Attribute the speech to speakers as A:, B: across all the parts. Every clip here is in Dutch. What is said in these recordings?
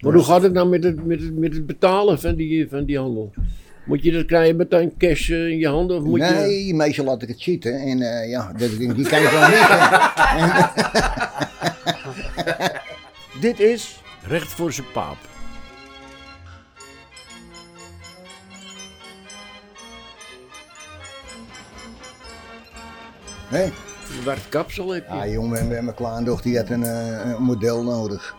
A: Maar hoe gaat het nou met het, met het, met het betalen van die, van die handel? Moet je dat krijgen meteen cash eh, in je handen? Of moet je...
B: nee, meestal laat ik het zitten. En eh, ja, dat, die die kan ik wel niet.
A: Dit is Recht voor zijn paap.
B: Hè?
A: Zwart kapsel heb je.
B: Ah, Ja, jongen, mijn, mijn kleindochter die had een, eh, een model nodig.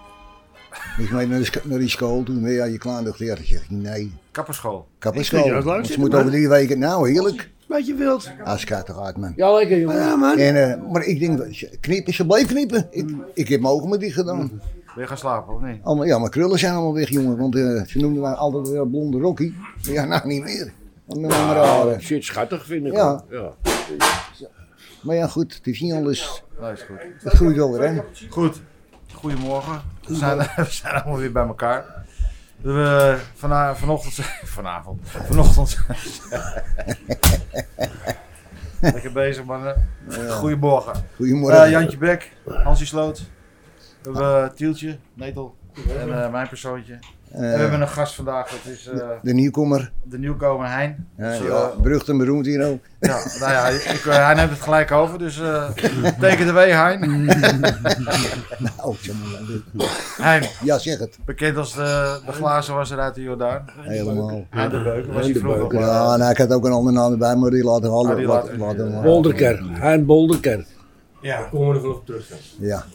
B: Die is mee naar, de scho- naar die school toen. Ja, je kleindochter had gezegd, nee,
C: Kapperschool.
B: kapperschool.
D: Ik vind dat leuk,
B: Want Ze
D: zeg
B: moet
D: maar.
B: over drie weken, nou heerlijk.
D: Wat je wilt.
B: Als gaat eruit, man.
A: Ja, lekker jongen.
D: Ja, man.
B: En, eh, maar ik denk, ze- knippen, ze bleef knippen. Ik, ik heb mijn ogen maar dicht gedaan.
C: Wil je gaan slapen of niet?
B: Allemaal, ja, mijn krullen zijn allemaal weg, jongen. Want eh, ze noemden mij altijd wel blonde Rocky. Ja, nou niet meer. Want mijn rare.
A: Shit, schattig vind ik.
B: Ja.
A: wel. ja.
B: Maar ja, goed, het is niet alles.
C: Nee, Nou, is goed.
B: Het groeit wel weer, hè?
C: Goed. Goedemorgen. We zijn, we zijn allemaal weer bij elkaar. We, eh, vana, vanochtend, vanavond, vanochtend. Lekker bezig, mannen. Goedemorgen.
B: Goedemorgen.
C: Eh, Jantje Bek, Hansie Sloot. We hebben eh, Tieltje, Netel en eh, mijn persoontje. en we
B: Eh,
C: hebben een gast vandaag, dat is eh,
B: De nieuwkomer.
C: de nieuwkomer Hein.
B: Ja,
C: Dus, eh,
B: ja, berucht en beroemd hier ook.
C: ja, nou ja, ik, eh, hij neemt het gelijk over, dus eh teken de wee Hein.
B: Oh, zeg maar.
C: Hein,
B: Ja, zeg het.
C: bekend als de, de glazen was uit de Jordaan.
B: Helemaal.
C: Hein de Beuken was
A: Hein
C: hij
A: de
C: vroeger.
A: Beuken.
B: Ja, nou, ik had ook een andere naam erbij, maar die laten we
C: Ah,
B: alle.
C: die
B: laat-
C: laten-
B: laten we maar.
A: Bolderker, Hein Bolderker.
C: Ja,
D: Komen we er vanaf terug. dan.
B: Ja.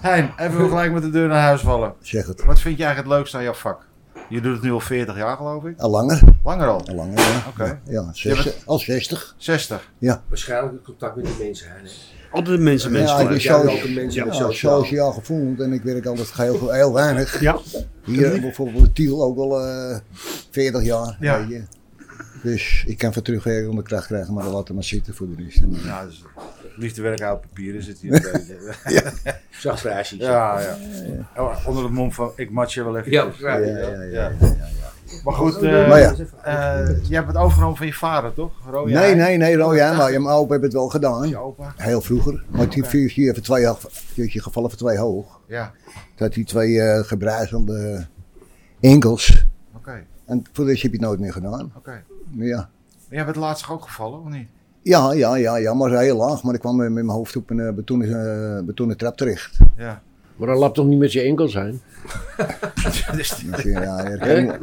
C: Hein, even we gelijk met de deur naar huis vallen.
B: Zeg het.
C: Wat vind je eigenlijk het leukste aan jouw vak? Je doet het nu al 40 jaar geloof ik.
B: Al langer.
C: Langer al.
B: Al langer, ja.
C: Oké.
B: Ja,
C: Je
B: 60, al 60.
C: 60.
D: Waarschijnlijk het contact met de mensen. Hein, hè?
A: Altijd mensen,
B: Ja, ik ben
D: Jij bent
B: zo-
D: altijd mensen
B: ja,
D: met sociaal.
B: sociaal gevoeld en ik werk altijd heel, heel weinig.
A: Ja.
B: Hier bijvoorbeeld Tiel ook al eh 40 jaar.
C: Ja.
B: weet je. Dus ik kan voor terugwerken om de kracht krijgen, maar laten we maar zitten voor de rest. En, eh,
C: Nou, dus liefdewerk uit papieren zit hier een beetje.
D: Zacht verhuisje.
C: Ja, ja. Oh, onder het mom van ik match je wel even.
D: Ja,
B: Ja,
D: ja,
B: ja, ja, ja.
C: Maar goed, eh,
B: Maar ja.
C: eh, je hebt het overgenomen van je vader, toch? Rode
B: Nee,
C: haar,
B: nee, nee, nou ja, maar mijn opa heeft het wel
C: Je
B: gedaan.
C: opa.
B: Heel vroeger. Maar die viel hier even twee hoog, viel je gevallen voor twee hoog.
C: Ja,
B: Dat die twee eh, gebruizelde enkels.
C: oké,
B: En voor de rest heb je het nooit meer gedaan.
C: oké.
B: Ja.
C: Maar jij bent laatst ook gevallen, of niet?
B: Ja, ja, ja, ja, maar heel laag. Maar ik kwam met mijn hoofd op een eh, betonnen, eh, betonnen trap terecht.
C: Ja.
A: Maar dat lapt toch niet met zijn enkel zijn?
C: Dus-
B: Dus, eh, ja, herken-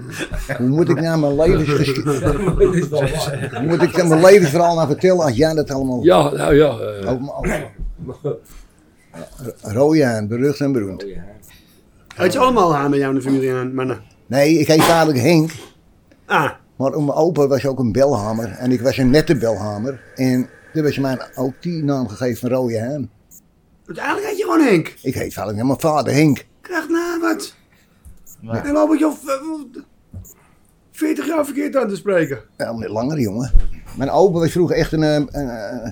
B: hoe moet ik nou mijn levensgeschiedenis... Hoe moet ik nou mijn levensverhaal nou vertellen als jij dat allemaal...
A: Ja, nou ja. eh,
B: Oh, maar- oh. Rooijen, berucht en beroemd.
D: Het is allemaal aan bij jou in de familie, aan, mannen.
B: Nee, ik heet eigenlijk Henk.
D: Ah,
B: Maar om mijn opa was ook een belhamer en ik was een nette belhamer. En toen was mij ook die naam gegeven van Rode Haan.
D: uiteindelijk had je gewoon Henk.
B: Ik heet vader naar mijn vader Henk.
D: Krijg na wat.
C: Nee.
D: En loop ik je of, eh, 40 jaar verkeerd aan te spreken.
B: Ja, maar langer jongen. Mijn opa was vroeger echt een, eh, een, eh,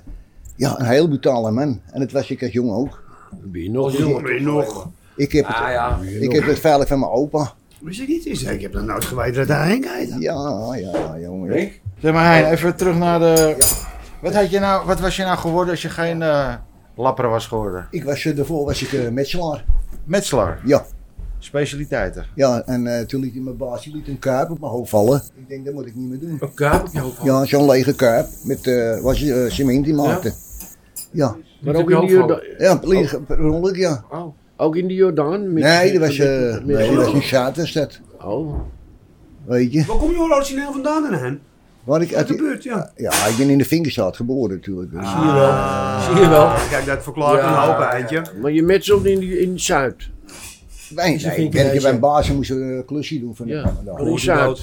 B: ja, een heel brutale man. En dat was ik als jongen ook.
A: ben je nog
D: Oh, Jongen,
A: jongen?
D: ben je nog.
B: Ik heb het,
D: Ah ja.
B: ik heb het veilig van mijn opa.
D: Wist ik niet eens. Ik heb dat nooit geweten dat hij Henk heet.
B: Ja, ja, jongen.
C: Zeg maar, Hein, even terug naar de... Wat, had je nou, wat was je nou geworden als je geen eh lapper was geworden?
B: Ik was, eh, daarvoor was ik eh, metselaar.
C: Metselaar,
B: Ja,
C: specialiteiten.
B: ja. En eh, toen liet hij mijn baas die liet een kuip op mijn hoofd vallen. Ik denk, dat moet ik niet meer doen.
A: Oh,
D: Een kaap op je hoofd.
B: Ja, zo'n lege kuip met eh was je eh, cement die maakte. Ja,
A: Maar
D: Met
A: ook
D: de
A: in, de
D: belval.
A: Jorda-
B: ja, lege per ongeluk, ja.
A: ook in de Jordaan? Oh. Met,
B: Nee, dat was, eh
A: met- met-
B: nee, dat was een zaterstad,
A: Oh,
B: weet je.
D: Waar kom je origineel vandaan dan, Hen?
B: Waar ik
D: Uit
B: uit
D: de
B: die-
D: buurt, ja.
B: ja, ik ben in de Vinkerstraat geboren natuurlijk. Dus.
D: Ah.
A: Ah,
D: Zie je wel. Zie je wel.
C: Kijk, dat verklaart
D: een hoop,
C: eindje.
A: maar je metselt in, die- in Zuid.
B: Wij, nee, ik werkte bij een baas en moest een eh, klusje doen van de
A: Ja.
B: Canada.
A: Oh. Zuid.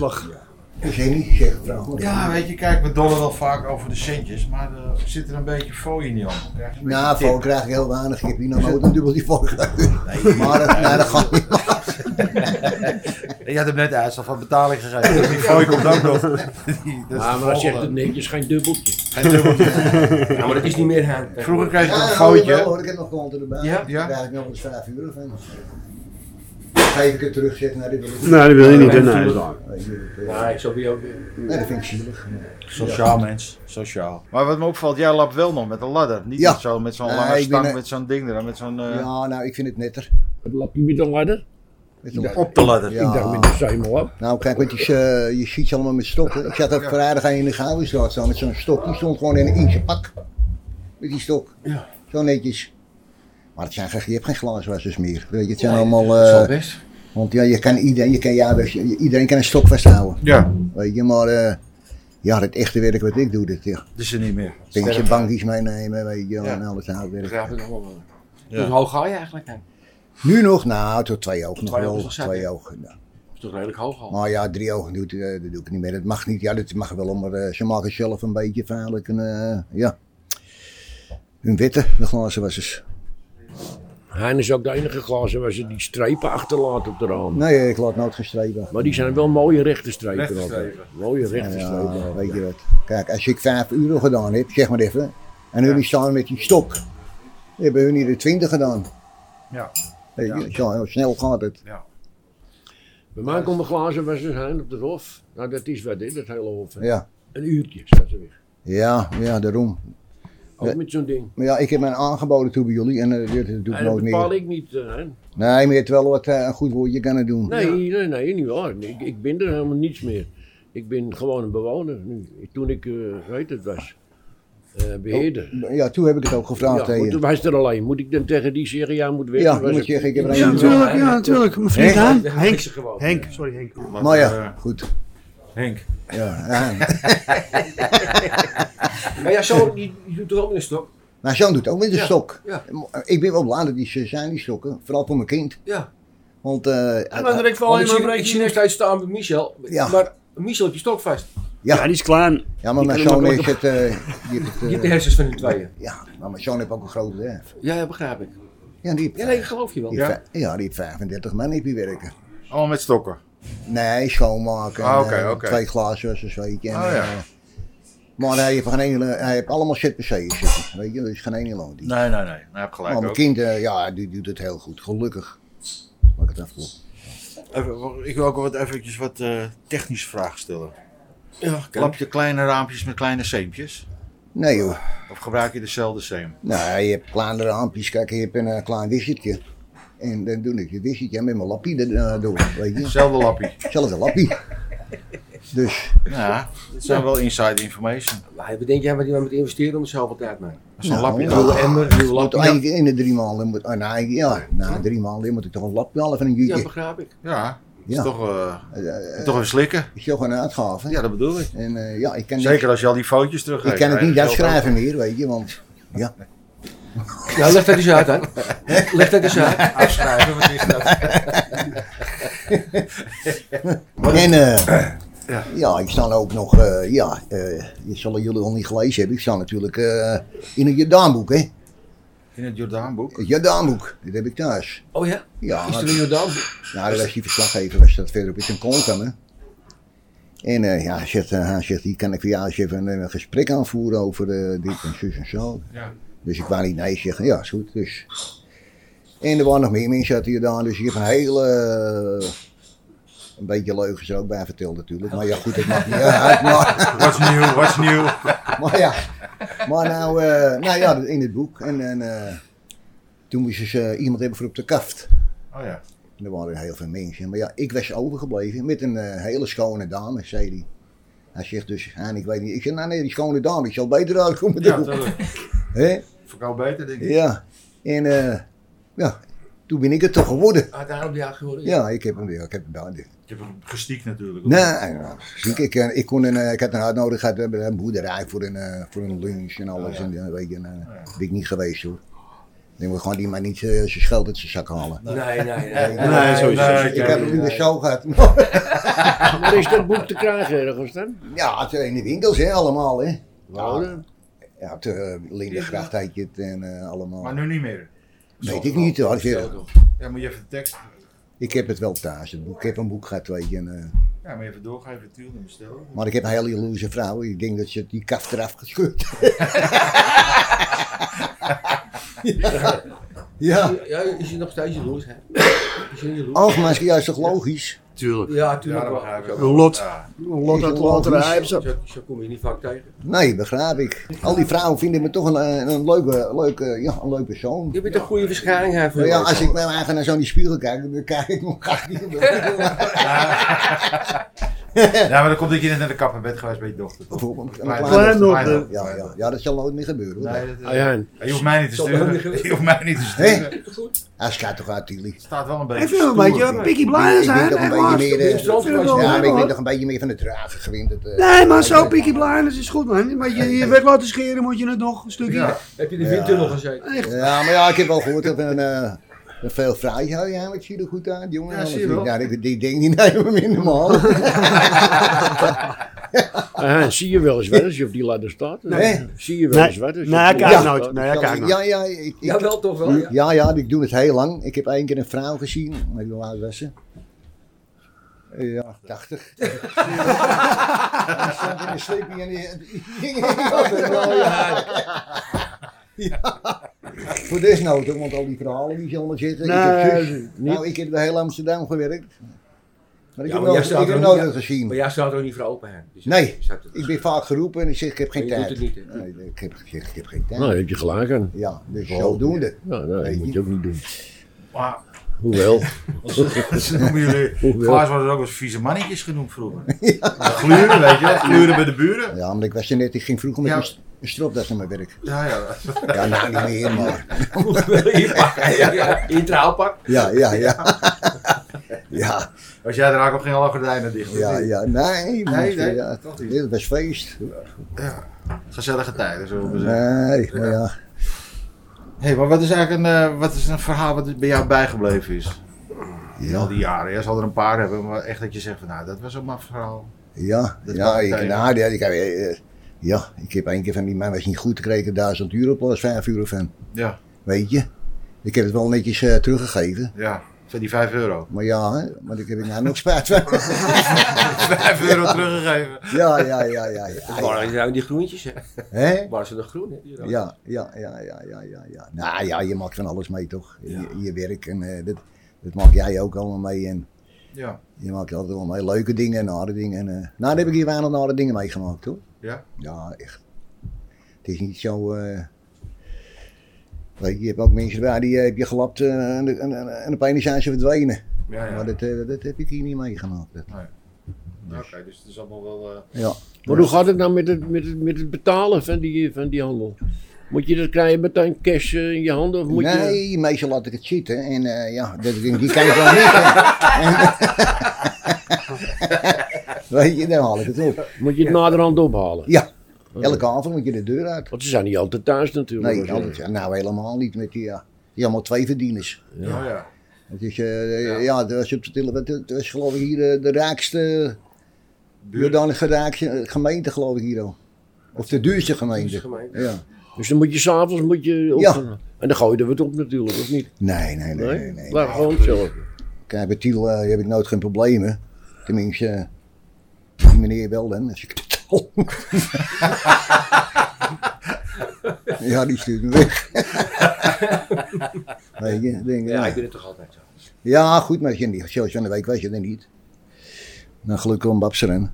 B: Dus hij niet zeggen, vraag maar.
C: Ja, weet je, kijk, we dollen wel vaak over de centjes, maar eh, zit er een beetje fooi in die handen. Krijg je een beetje
B: Na
C: tip.
B: voor krijg ik heel weinig. Ik heb hier nog nooit een dubbeltje voor gekregen. Maar dat, nee, dat gaat niet.
C: Je had hem net uitstel van betaling gegeven. Die fooi komt ook nog. Die- dat is
A: Ah,
C: de
A: maar dat
C: volgende.
A: zegt het netjes, geen dubbeltje.
C: Geen dubbeltje.
D: Ja, maar dat is niet meer Hen.
C: Vroeger kreeg je nog een
B: Ja, wel,
C: gooitje.
B: hoor, ik heb nog klanten erbij.
D: Ja?
B: Daar
C: Ja.
B: krijg ik nog eens vijf uur van. geef ik het terugzetten naar de willen.
E: Nee, dat wil je niet. hè?
C: Nee,
E: Nee, dat is
C: natuurlijk.
E: waar.
B: Weet je, dat, eh,
A: Ja, ik zou bij jou...
B: nee, dat vind ik zielig.
C: Sociaal mens, sociaal. Maar wat me opvalt, jij lapt wel nog met een ladder. Niet
B: Ja.
C: met zo- met zo'n
B: Nee,
C: lange
B: ik ben
C: stang,
B: een-
C: met zo'n ding er, met zo'n... eh,
B: Ja, nou, ik vind het netter.
A: Wat lap je met een ladder?
B: Met een
C: Op de ladder.
B: Ja.
A: Ik dacht met een zeemel op.
B: Nou, kijk, want die, eh, je schiet ze allemaal met stokken. Ik zat ook vrijdag aan in de Gouwenstraat staan met zo'n stok. Die stond gewoon in een inkje pak. Met die stok. Zo netjes. Maar het zijn, geen- je hebt geen glaaswassers meer. Weet je, het zijn allemaal... eh,
A: best.
B: want ja, je kan iedereen, je kan, ja, dus je- iedereen kan een stok vasthouden.
C: Ja,
B: Weet je, maar... eh, ja, het echte werk wat ik doe, dat ja.
C: dat is er niet meer.
B: Pinkje bankjes meenemen, weet je,
D: Ja.
B: en al het houtwerk.
D: Begrijp ik nog wel. wel.
C: Ja.
D: Dus Hoe hoog ga je eigenlijk heen?
B: Nu nog? Nou, tot twee ogen nog
D: Twee
B: wel.
D: ogen is nog zat,
B: twee
D: hè?
B: ogen, ja.
D: Dat is toch redelijk hoog al?
B: Maar ja, drie ogen doet, eh, dat doe ik niet meer. Dat mag niet. Ja, dat mag wel, maar eh, ze maken zelf een beetje veilig. En, eh, ja. Hun witte, de glazen wassers.
A: Hein is ook de enige glazen waar ze die strepen achterlaat op de raam.
B: Nee, ik laat nooit gestrepen.
A: Maar die zijn wel mooie rechte strepen.
C: Rechte
A: altijd.
C: strepen.
A: Mooie
B: Ja,
A: rechte strepen.
B: weet je wat. Kijk, als ik vijf uren gedaan heb, zeg maar even. En jullie staan met die stok. Die hebben hun hier de twintig gedaan.
C: Ja.
B: Weet je, zo heel snel gaat het.
A: Bij mij komen glazen waar ze zijn op de hof. Nou, dat is wat, hè, dat hele hof. hè.
B: Ja,
A: Een uurtje staat ze weg.
B: ja, ja, daarom.
A: Ook met zo'n ding.
B: Maar ja, ik heb mij aangeboden toen bij jullie en eh, dit doe ik
A: En dat
B: nooit
A: bepaal
B: meer.
A: ik niet. eh, Hein.
B: Nee, maar je hebt wel wat eh, een goed woordje kunnen doen.
A: nee, nee, nee, niet waar. Ik, ik ben er helemaal niets meer. Ik ben gewoon een bewoner nu. Toen ik, eh weet het was, eh, beheerder.
B: Ja, toen heb ik het ook gevraagd
A: Ja,
B: Oh, tegen
A: want
B: je.
A: toen was er alleen. Moet ik dan tegen die zeggen, jij moet weg?
B: Ja,
A: Dan was
B: ik moet
A: ik-
B: zeggen, ik heb er
E: Ja,
B: een.
E: natuurlijk. Ja, natuurlijk. Mijn vriend
B: Henk.
E: Haan.
D: Dat
E: Henk.
D: is ze gewoon.
E: Henk, sorry Henk.
B: Maar ja,
C: eh,
B: goed.
C: Henk.
B: Ja, ja.
D: Maar ja, zo, die, die doet er ook in een stok.
B: Maar Jean doet ook met een stok.
D: ja.
B: Ik ben wel blij dat die ze zijn, die stokken. Vooral voor mijn kind.
D: Ja.
B: Want, eh,
E: En dan
B: eh,
E: direct wel
D: Want ik
E: in mijn
D: zie, ik zie
E: breekje.
D: nog steeds staan met Michel.
B: Ja.
D: Maar Michel heeft die stok vast.
E: Ja, die is klaar.
B: ja, maar
E: die
B: mijn
E: kunnen
B: zoon
E: makkelijk
B: heeft het... eh, die heeft het,
D: Je hebt de
B: eh,
D: hersens van die tweeën.
B: ja, maar mijn zoon heeft ook een groot bedrijf.
D: Ja, ja, begrijp ik.
B: Ja, die heeft,
D: Ja, nee, ik geloof je wel.
B: die heeft vij- ja, die heeft 35 man heb je werken.
C: Allemaal met stokken.
B: Nee, schoonmaken.
C: Ah, oké,
B: eh,
C: oké.
B: Twee glazen, weet je. En,
C: Oh, ja.
B: eh, maar hij heeft, geen ene, hij heeft allemaal ZPC's zitten. Weet je, er is geen ene loon. die-
C: Nee, nee, nee. Nou, heb gelijk
B: Maar mijn
C: ook.
B: kind, eh, ja, die doet het heel goed. Gelukkig. Laat ik het afkloppen.
C: Even, wacht, ik wil ook wat, eventjes wat eh, technische vragen stellen.
D: Ja, kan.
C: Klap je kleine raampjes met kleine seempjes?
B: Nee joh.
C: Of gebruik je dezelfde seem?
B: Nou, je hebt kleinere raampjes. Kijk, je hebt een eh, klein wisseltje. En dan doe ik het wisseltje met mijn lappie erdoor. Weet je?
C: Hetzelfde lappie.
B: Zelfde lappie. Dus,
C: Ja, dat zijn wel inside information.
D: Maar bedenk jij wat je moet investeren om er zoveel tijd mee?
C: Zo'n
B: Nou,
C: lapje.
B: ja.
D: Nieuwe emmer, nieuwe
B: want
D: lamp.
B: één keer in de drie maanden moet, ah, nee, ja, na drie maanden moet ik toch een lapje halen van een
D: Ja,
B: jutje.
D: begrijp ik.
C: Ja, dat is
B: Ja.
C: toch, eh,
B: Eh, eh,
C: toch even slikken.
B: is toch een uitgave.
C: Ja, dat bedoel ik.
B: En eh, ja, ik kan,
C: Zeker als je al die foutjes teruggeeft.
B: ik kan het niet
C: Eigen geld
B: uitschrijven meer, weet je, want
D: Ja, leg dat eens uit dan. Leg dat eens uit. Afschrijven, wat is dat?
B: En eh,
C: Ja.
B: ja. ik sta ook nog, eh, ja, eh, je zullen jullie al niet gelezen hebben. Ik sta natuurlijk eh, in het Jordaanboek, hè?
C: ook. In het Jordaanboek.
B: Het Jordaanboek, dat heb ik thuis.
D: Oh ja?
B: Ja,
D: Is er een Jordaan?
B: nou, dat was die verslaggever, was dat verder op zijn kont dan, hè? En eh, ja, hij zegt, eh, hij zegt, hier kan ik voor jou eens even een, een gesprek aanvoeren over eh, dit en zus en zo.
C: Ja.
B: Dus ik wou niet nee zeggen, ja, is goed. Dus. En er waren nog meer mensen uit Jordaan, dus je hebt een hele... eh, een beetje leugens er ook bij verteld natuurlijk. Maar ja, goed, dat mag niet uit. Maar,
C: Wat is nieuw, wat is nieuw?
B: maar ja, maar nou, eh, nou ja, in het boek. En, en eh, toen moest dus eh, iemand hebben voor op de kaft.
C: Oh ja.
B: En er waren heel veel mensen. Maar ja, ik was overgebleven met een eh, hele schone dame, zei hij. Hij zegt dus, en ik weet niet. Ik zeg, nou nee, die schone dame, ik zal beter uitkomen.
C: Ja,
B: dan
C: dat is-
B: Hè?
C: verkoop beter denk ik.
B: ja. En eh, ja, toen ben ik het toch geworden.
D: Ah, daarom die aard geworden.
B: Ja, ik heb hem weer, ik heb hem daar.
C: Je hebt hem gestiekt natuurlijk.
B: Nee, nou, zie ik, ik, eh, ik, kon een, eh, ik had een uitnodiging gehad, we hebben een boerderij voor een, eh, voor een lunch en
C: Oh,
B: alles. En, eh, weet je, en, eh, ben ik niet geweest hoor. Dan moet gewoon die maar niet eh, zijn geld uit zijn zak halen.
D: Nee, nee, nee.
E: Nee, sowieso.
C: nee,
B: ik
C: nee,
B: heb
C: nee.
B: het nu weer zo gehad.
A: Maar is dat boek te krijgen ergens dan?
B: ja, het zijn in de winkels hè, allemaal hè.
A: Nou, dan-
B: Ja, op de eh, Lindengracht had je het en eh, allemaal.
C: Maar nu niet meer.
B: Weet ik niet hoor. Ik- eh,
C: Ja, moet je even de tekst.
B: Ik heb het wel thuis, het boek. ik heb een boek gehad weet je. En, eh,
C: Ja, moet je even doorgeven, tuur en bestellen.
B: maar ik heb een hele jaloerse vrouw, ik denk dat ze die kaft eraf gescheurd. ja. ja.
D: Ja, is je nog steeds jaloers, hè?
B: Algemeen is juist toch logisch?
A: Tuurlijk.
D: Ja,
C: Ja,
D: tuurlijk
C: dat
D: wel.
C: begrijp ik
A: Een
C: wel.
A: lot.
C: Ja.
B: Lot uit loterij.
D: Zo, zo kom je niet vaak tegen.
B: Nee, begrijp ik. Al die vrouwen vinden me toch een, eh, een, leuke, leuke, ja, een leuk persoon.
D: Je bent een goede verschijning. hè, voor
B: Nou ja,
D: jou.
B: als ik bij mijn eigen naar zo'n spiegel kijk, dan kijk ik me graag niet in de
C: Ja, maar dan komt dat je net naar de kapper bent geweest bij je dochter. toch?
B: Bijvoorbeeld, een
C: Kleine-
B: kleine
C: kleine-
E: dochter.
B: Ja,
C: kleine-
B: ja, ja, dat zal nooit meer gebeuren. hoor.
C: Nee, dat-
A: Ah, ja.
C: Ja, Je hoeft mij niet te sturen. Je hoeft mij niet te sturen. Het
B: Hij schijnt toch uit, Tilly.
C: staat wel een beetje.
E: Even een beetje
C: stoer.
E: Piggy Blinders
B: Ik
E: zijn.
B: ben toch een
E: hè,
B: beetje
E: maar-
B: meer,
E: Ik
B: eh,
E: vind het wel leuk,
B: Ja, maar ik ben
E: hoor.
B: toch een beetje meer van het dragen gewend. het, eh.
E: Nee, maar zo Peaky Blinders is goed, man. Maar je, je werd laten scheren, moet je het nog een stukje.
C: Ja.
D: Heb je in de windtunnel gezeten?
E: Echt.
B: Ja, maar ja, ik heb wel gehoord dat een, eh, een veel vrij ja, ja, wat zie je er goed uit, jongen.
C: Ja, zie je wel.
B: Ja, die, die ding die nemen we in de man.
A: Ah, Hein, zie je wel eens wat als je op die ladder staat?
B: Nee.
A: Zie je wel eens
E: Nee,
A: wat? als je
E: nee,
A: op die
E: hij kijkt
A: ladder
E: nooit.
A: staat?
E: Nee, hij
F: nou.
E: kijkt nooit.
B: Ja, ja, ik, ik-
D: Ja, wel toch wel. Ja.
B: ja, ja, ik doe het heel lang. Ik heb één keer een vrouw gezien, maar ik wil laat was ze? Eh, Ja, 80. Die stond in een sleepie en die- die ging in de auto. Ja, ja. Ja. Voor desnood, ook, want al die verhalen die ze allemaal zitten. ik heb
E: Nee,
B: zus.
E: niet.
B: Nou, ik heb bij heel Amsterdam gewerkt. Maar ik heb
D: Ja, maar jij
B: nooit,
D: staat
B: ik heb
D: er
B: nooit
D: niet-
B: wat gezien.
D: Maar jij staat er ook niet voor open, hè? Dus
B: Nee.
D: je staat er-
B: Ik ben vaak geroepen en ik zeg, ik heb geen
D: Maar je
B: tijd.
D: doet het niet, hè?
B: Nee, ik, heb, ik, heb, ik heb geen tijd.
A: Nou, daar heb je gelijk aan.
B: Ja, dus
A: Wow.
D: Oh.
B: zodoende.
A: Ja, nou,
B: Weet
A: dat
B: je.
A: moet je ook niet doen.
C: Maar
A: Hoewel.
C: ze noemen jullie.
A: Hoewel.
C: Klaas worden ook als vieze mannetjes genoemd vroeger. Ja, Gluren, weet je wel. Gluren bij de buren.
B: Ja, want ik was er net, ik ging vroeger met
C: Ja.
B: een st- een stropdas naar mijn werk.
C: Ja, ja.
B: Ja, nou niet meer, maar.
D: Vroeger wel in je pak. Ja, In je trouwpak.
B: Ja, ja, ja. Ja,
C: Als jij er ook op ging, alle gordijnen dicht.
B: ja, ja. Nee, maar,
C: Nee, nee,
B: ja,
C: toch niet.
B: dit was feest.
C: Gezellige tijden, zullen we zeggen.
B: Nee, maar ja.
C: Hé, hey, maar wat is eigenlijk een, eh, wat is een verhaal wat bij jou bijgebleven is? Al
B: Ja,
C: die jaren. Ja, zal er een paar hebben, maar echt dat je zegt van nou, dat was ook maar een verhaal.
B: ja.
C: Dat
B: Ja,
C: maakt
B: ik,
C: tijd.
B: nou, ja, ik, heb, eh, eh, ja, ik heb één keer van die man was niet goed gekregen, 1000 euro plus 5 euro van.
C: Ja,
B: Weet je? Ik heb het wel netjes eh, teruggegeven.
C: ja. Van die 5 euro.
B: Maar ja, hè, maar ik heb ik nou nog spijt van.
C: 5 euro teruggegeven.
B: Ja, ja, ja, ja. ja,
D: Dat
B: ja.
D: waren nou die groentjes, hè?
B: Hè?
D: Waren ze nog groen, hè? die rozen?
B: Ja, ja, ja, ja, ja, ja, ja. Nou ja, je maakt van alles mee toch? Je, je werk en eh, dat, dat maak jij ook allemaal mee. En
C: Ja.
B: je maakt altijd wel mee leuke dingen en nare dingen. En, eh, nou, daar heb ik hier weinig nare dingen meegemaakt hoor.
C: Ja?
B: Ja, echt. Het is niet zo. eh, weet je, je hebt ook mensen bij die eh, heb je gelapt eh, en, en, en, en opeens zijn ze verdwenen.
C: Ja, ja.
B: Maar dat, eh, dat heb ik hier niet meegemaakt. Dat-
C: Oké, dus het is allemaal wel... eh,
B: Ja.
A: Maar hoe gaat het nou met het, met het, met het betalen van die, van die handel? Moet je dat krijgen meteen cash eh, in je handen? Of moet je...
B: nee, meestal laat ik het zitten. En eh, ja, dat, die die kan ik wel niet. En- Weet je, dan haal ik het op.
A: Moet je het naderhand ophalen?
B: Ja, elke avond moet je de deur uit.
A: Want ze zijn niet altijd thuis natuurlijk.
B: Nee, altijd, Oh. ja, nou helemaal niet met die, ja. die allemaal twee verdieners.
C: Ja, ja.
B: Het is, eh, ja, dat was op de televisie, dat was geloof ik hier eh, de raakste, Jordanisch geraakte gemeente geloof ik hier al. Of de duurste
D: Groentjes
B: gemeente.
D: gemaakt.
B: Ja.
A: Dus dan moet je s'avonds... Moet je op...
B: Ja.
A: En dan gooien we het op natuurlijk, of niet?
B: Nee, nee, nee, nee. nee.
A: Laat gewoon zelf.
B: Kijk, bij Tiel eh, heb ik nooit geen problemen. Tenminste, eh, die meneer wel dan. Als ik ja, die stuurt me weg. Weet je, denk,
D: Ja,
B: ja.
D: ik ben het toch altijd zo.
B: ja, goed, maar als je niet, zoals van de week was je er niet. Nou, gelukkig om Babseren.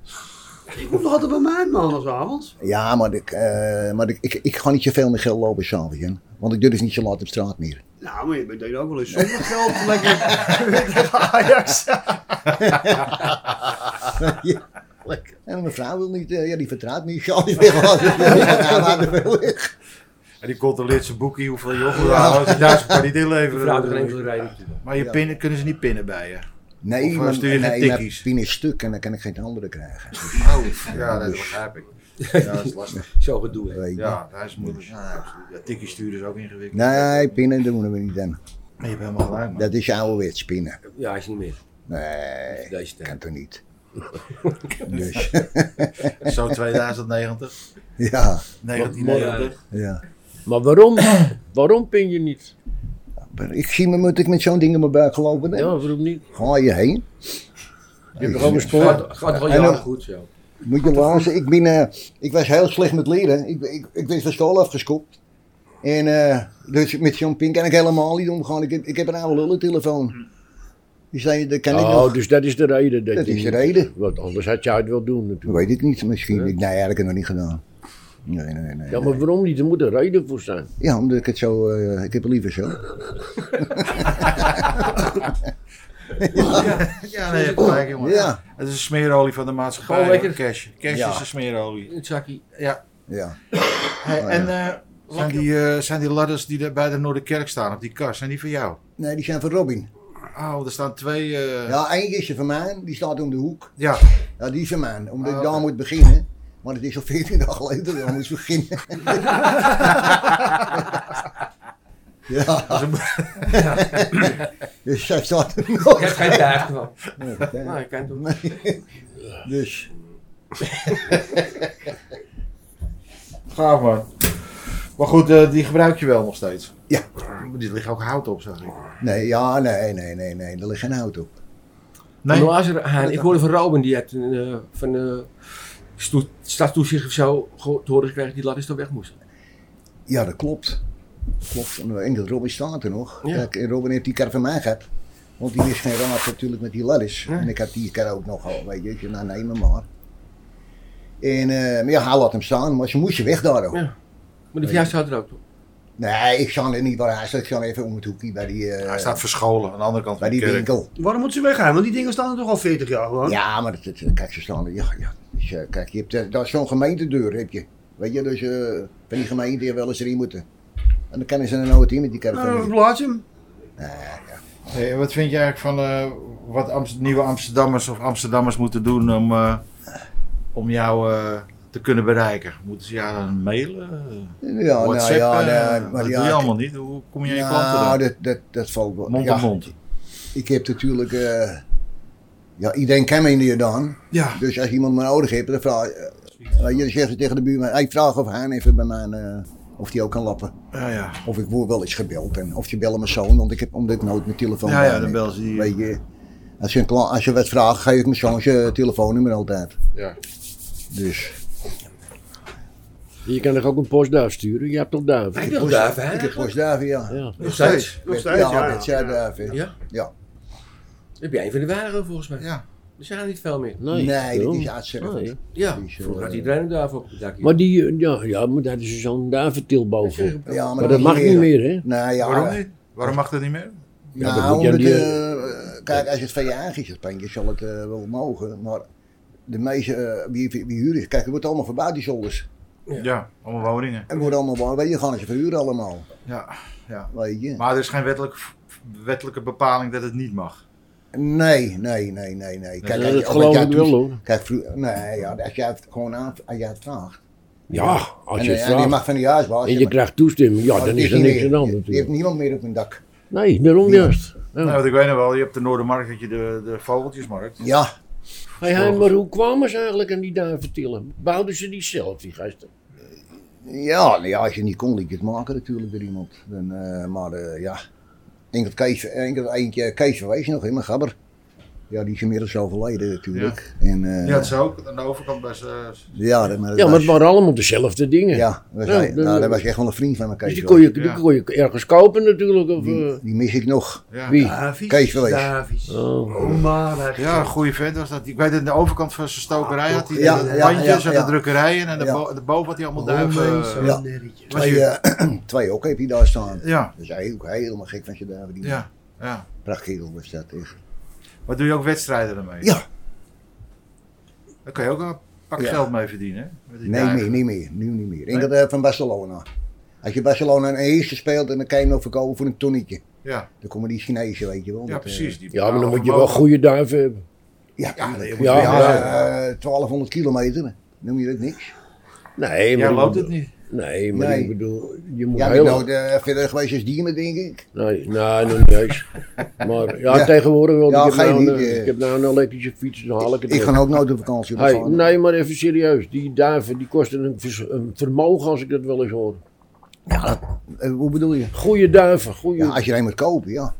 E: Ik moet nog altijd bij mij maandagavond.
B: Ja, maar, ik, eh, maar ik, ik, ik ga niet zoveel meer geld lopen s'avonds, hè. Want ik doe dus niet zo laat op straat meer.
E: Nou, maar je bent ook wel eens zonder geld lekker tegen Ajax.
B: Ja. En mijn vrouw wil niet, eh, ja, die vertrouwt me niet. Ja, die wil wel. Ja, maar die wil weg.
C: En die controleert zijn boekje hoeveel yoghurt ja. als je daar kan niet
D: Die vrouw had er
C: inleveren.
D: geen enkele reden natuurlijk.
C: Maar je pinnen kunnen ze niet pinnen bij je.
B: Nee,
C: Of, eh,
B: maar,
C: stuur je
B: nee,
C: geen
B: maar
C: tikkies?
B: pin is stuk en dan kan ik geen andere krijgen.
C: Oh, Ja, dat begrijp ik. Ja, dat is lastig.
D: Zo gedoe, hè?
B: Weet je.
C: Ja, dat is moeilijk. Ja, absoluut. Ja, tikkie sturen is ook ingewikkeld.
B: Nee, pinnen doen we niet aan.
C: Maar je hebt helemaal gelijk, man.
B: Nou Dat is ouderwets pinnen.
D: Ja, is niet meer.
B: Nee,
D: Deze
B: kan
D: tijd.
B: toch niet. Dus,
C: Zo 2090,
B: ja,
C: 1990.
B: ja.
A: Maar waarom, waarom pin je niet?
B: Maar ik zie me, moet ik met zo'n ding in mijn buik gelopen
A: Ja,
B: hebben?
A: waarom niet?
B: Ga je heen?
A: Je hebt gewoon een spoor.
D: Gaat, gaat wel
B: En
D: jaren
B: dan-
D: goed zo.
B: Moet je luisteren, ik, ben, eh, ik was heel slecht met leren. Ik, ik, ik werd van school afgeschopt. En eh, dus met zo'n pin kan ik helemaal niet omgaan. Ik heb, ik heb een oude lullentelefoon. Dus dan, dan kan ik nog.
A: Oh, dus dat is de reden. Dat,
B: Dat
A: je
B: is de
A: niet- eh,
B: reden.
A: Want anders had je het wel doen
B: Dat
A: natuurlijk.
B: weet ik niet, misschien. Ik, nee, eigenlijk heb ik het nog niet gedaan. Nee, nee, nee.
A: Ja, maar waarom niet? Er moet een reden voor zijn.
B: Ja, omdat ik het zo. eh, ik heb het liever zo.
C: Ja, nee, je hebt gelijk, jongen.
B: Ja.
C: Het is een smeerolie van de maatschappij.
D: Gewoon lekker-
C: hoor, Cash. Cash
B: Ja.
C: is een smeerolie.
D: Een zakkie.
C: Ja.
B: Ja.
C: Hey,
B: Oh,
C: en eh, zijn, die, eh, zijn die ladders die er bij de Noorderkerk staan, op die kast, zijn die van jou?
B: Nee, die zijn van Robin.
C: Oh, er staan twee... eh,
B: Ja, eentje is er van mij, die staat om de hoek.
C: ja.
B: Ja, die is van mij, omdat
C: Ah,
B: ik daar
C: oké.
B: moet beginnen. Maar het is al 14 dagen geleden dat ik daar moest beginnen. ja, dus zij staat er nog.
D: Ik heb geen taart van.
B: Nee,
D: Maar
B: nee.
D: Ah, ik Nou, kan het doen.
B: Dus,
C: Gaaf, man. Maar goed, eh, die gebruik je wel nog steeds.
B: Ja.
C: Maar die liggen ook hout op, zeg ik.
B: nee, ja, nee, nee, nee, nee, er ligt geen hout op.
D: Maar als er- Haan, ik hoorde van Robin, die had een, eh, van eh sto- stadstoezicht of zo geho- te horen gekregen die ladders er weg moesten.
B: Ja, dat klopt. Klopt, en eh, enkel Robin staat er nog.
D: Ja.
B: Kijk, en Robin heeft die kar van mij gehad. Want die wist geen raad natuurlijk met die ladders.
D: Nee.
B: En ik had die kar ook nogal, weet je, ik zei, nou neem hem maar. En eh, maar ja, hij laat hem staan, maar ze moesten weg daar ook.
D: Ja. Maar die verjaardag had er ook toch?
B: Nee, ik zou er niet waar hij staat. Ik zou even om het hoekje bij die, eh,
C: Hij staat verscholen aan de andere kant van
B: bij
C: de
B: die
C: kerk.
B: winkel.
E: Waarom moet ze weggaan? Want die dingen staan er toch al 40 jaar
D: Oh.
E: gewoon.
B: Ja, maar dat, dat- kijk, ze staan er. Ja, ja. Dus, eh, kijk, je hebt, eh, daar is zo'n gemeentedeur, heb je. Weet je, dus eh, van die gemeente hebben wel eens erin moeten. En dan kennen ze er nooit in met die
E: Nou, dan
D: Oh.
B: caravan.
E: verplaats je hem.
C: Hey, en wat vind je eigenlijk van eh, wat Amst- nieuwe Amsterdammers of Amsterdammers moeten doen om, eh, om jou eh, te kunnen bereiken? Moeten ze jou dan mailen? eh,
B: Ja, nou
C: WhatsApp?
B: ja,
C: eh,
B: nee,
C: dat
B: maar
C: doe je
B: ja,
C: allemaal niet. Hoe kom je aan je klanten
B: Nou,
C: dan?
B: dat, dat, dat valt wel.
C: Mond
B: ja,
C: op mond.
B: Ik heb natuurlijk. eh, ja, iedereen kent me in de Jordaan.
C: Ja.
B: Dus als iemand me nodig heeft, dan vraag eh, eh, je. zegt tegen de buurman: hey, vraag of hij even bij mij. eh, of die ook kan lappen.
C: Ja, ja.
B: Of ik word wel eens gebeld. En of je bellen mijn zoon, want ik heb, omdat ik nooit mijn telefoon
C: Ja,
B: bij me
C: ja, dan eh,
B: heb.
C: bellen ze die-
B: Weet je, als je, een kla- als je wat vraagt, geef ik mijn zoon zijn telefoonnummer altijd.
C: ja.
B: Dus.
A: Je kan toch ook een postduif sturen? Je hebt toch duiven?
D: Ik wil duiven, hè?
B: Ik heb postduiven, ja.
A: Ja.
D: Nog steeds.
E: Nog steeds, ja.
B: ja, met zijn duiven.
D: Ja?
B: Ja.
D: Heb jij een van de weinigen volgens mij?
C: Ja.
D: Er zijn er niet veel meer.
A: Nee,
B: Nee, dit
A: daarom.
B: is uitzending.
A: Nee.
D: Ja,
B: Die is, eh,
D: vroeger had iedereen een duif op het dakje.
A: Maar die, eh, ja, ja, maar daar is zo'n duiventil boven.
D: Ja,
B: Ja, maar,
A: Maar dat mag niet meer, hè?
B: Nee, Nou ja.
C: Waarom niet? Waarom mag dat niet meer?
A: Ja,
B: Nou,
A: dan moet je
B: omdat,
A: die-
B: eh, kijk, als het van je eigen is, het pandje, zal het eh, wel mogen. Maar de meeste, eh, wie, wie, wie huren is, kijk, het wordt allemaal verbouwd, die zolders.
C: Ja, allemaal woningen.
B: Het wordt allemaal, waar- weet je, gaan ze verhuren allemaal,
C: Ja, ja.
B: weet je.
C: Maar er is geen wettelijk, wettelijke bepaling dat het niet mag.
B: Nee, nee, nee, nee, nee. Kijk,
A: Ja, dat
B: als- als jij
A: geloof ik wel
B: toest-
A: hoor.
B: Kijk, vroeger, nee, ja, als jij het gewoon aan, als jij het vraagt.
A: Ja, als
B: En,
A: je het
B: eh, en je
A: vraagt
B: mag van die huisbaas.
A: en
B: ja,
A: je
B: maar-
A: krijgt toestemming, ja,
B: maar
A: dan
B: het
A: is er
B: niet
A: niks aan de
B: meer.
A: hand
B: Je- Je hebt
A: natuurlijk.
B: niemand meer op mijn dak.
A: Nee, daarom
B: Ja.
A: juist. Ja.
C: Nou, want ik weet nog wel, je hebt de Noordermarkt, had je de, de Vogeltjesmarkt.
B: Ja,
A: Hey, hey, maar hoe kwamen ze eigenlijk aan die duiventillen? Bouwden ze die zelf, die gasten?
B: Ja, nou ja, als je niet kon, liet je het maken natuurlijk door iemand. Dan, eh, maar eh, ja, enkel Kees, eh, enkel eentje, Kees verwees nog in mijn gabber. Ja, die is inmiddels overleden natuurlijk. Ja, en, eh,
C: Ja, dat is ook. Aan de overkant bij ze. eh,
B: ja, dat, maar dat
A: Ja, maar
B: was,
A: het waren allemaal dezelfde dingen.
B: ja, dat was,
A: Ja,
B: hij-
A: dat-
B: nou, dat was echt wel een vriend van me, Kees.
A: Dus die
B: hoor.
A: kon je, die
C: Ja.
A: kon je ergens kopen natuurlijk. Of, eh,
B: die, die mis ik nog.
C: Ja.
A: Wie?
E: Davies.
B: Kees Verwees.
E: Davies.
A: Oh.
E: Oh, maar weg.
C: Ja, een goede vent was dat. Ik weet dat aan de overkant van zijn stokerij had hij
B: Ah, Ja,
C: de
B: ja,
C: bandjes
B: ja,
C: en
B: ja.
C: de drukkerijen en de
B: Ja.
C: bo- de boven had hij allemaal
E: Homens
C: duiven.
E: en
C: Ja.
B: eh, ja.
E: nerretjes.
C: Was
B: Twee,
C: je-
B: eh, twee ook heb je daar staan.
C: ja,
B: Dus hij ook helemaal gek van je daar. Die
C: ja, ja.
B: prachtkerel was dat echt.
C: Maar doe je ook wedstrijden ermee?
B: Ja,
C: Daar kan je ook een pak
B: Ja.
C: geld mee verdienen. hè? Met die
B: nee,
C: duiven.
B: meer, niet meer. Nu niet meer. Enkel eh, van Barcelona. Als je Barcelona een eerste speelt, dan kan je hem nog verkopen voor een tonnetje.
C: Ja,
B: Dan komen die Chinezen, weet je wel.
C: ja
B: Dat, eh,
C: precies. Die
A: Ja, maar dan
C: betalen
A: moet je wel
C: vermogen.
A: goede duiven hebben.
B: ja, ja,
C: nee, je moet
A: Ja,
B: ja,
A: ja.
B: eh, 1200 kilometer. Noem je dat niks?
A: Nee, maar
C: Jij
A: ik
C: loopt het
A: bedoel-
C: niet.
A: Nee, maar
B: Nee.
A: ik bedoel, je moet
B: Ja, ik ben
A: heel...
B: nooit eh, verder geweest als Diemen, denk ik.
A: Nee, nee, nog niet eens. Maar ja,
B: Ja.
A: tegenwoordig wel.
B: Ja,
A: ik, heb
B: ga je
A: nou een,
B: niet,
A: eh,
B: eh,
A: ik heb nou een elektrische fiets, dan haal ik het
B: Ik
A: wel.
B: ga ook nooit op vakantie.
A: Hey,
B: opgaan.
A: nee, maar even serieus. Die duiven die kosten een, vers- een vermogen als ik dat wel eens hoor.
B: Eh, hoe bedoel je?
A: Goede duiven, goede.
B: Ja, als je er een moet kopen, ja.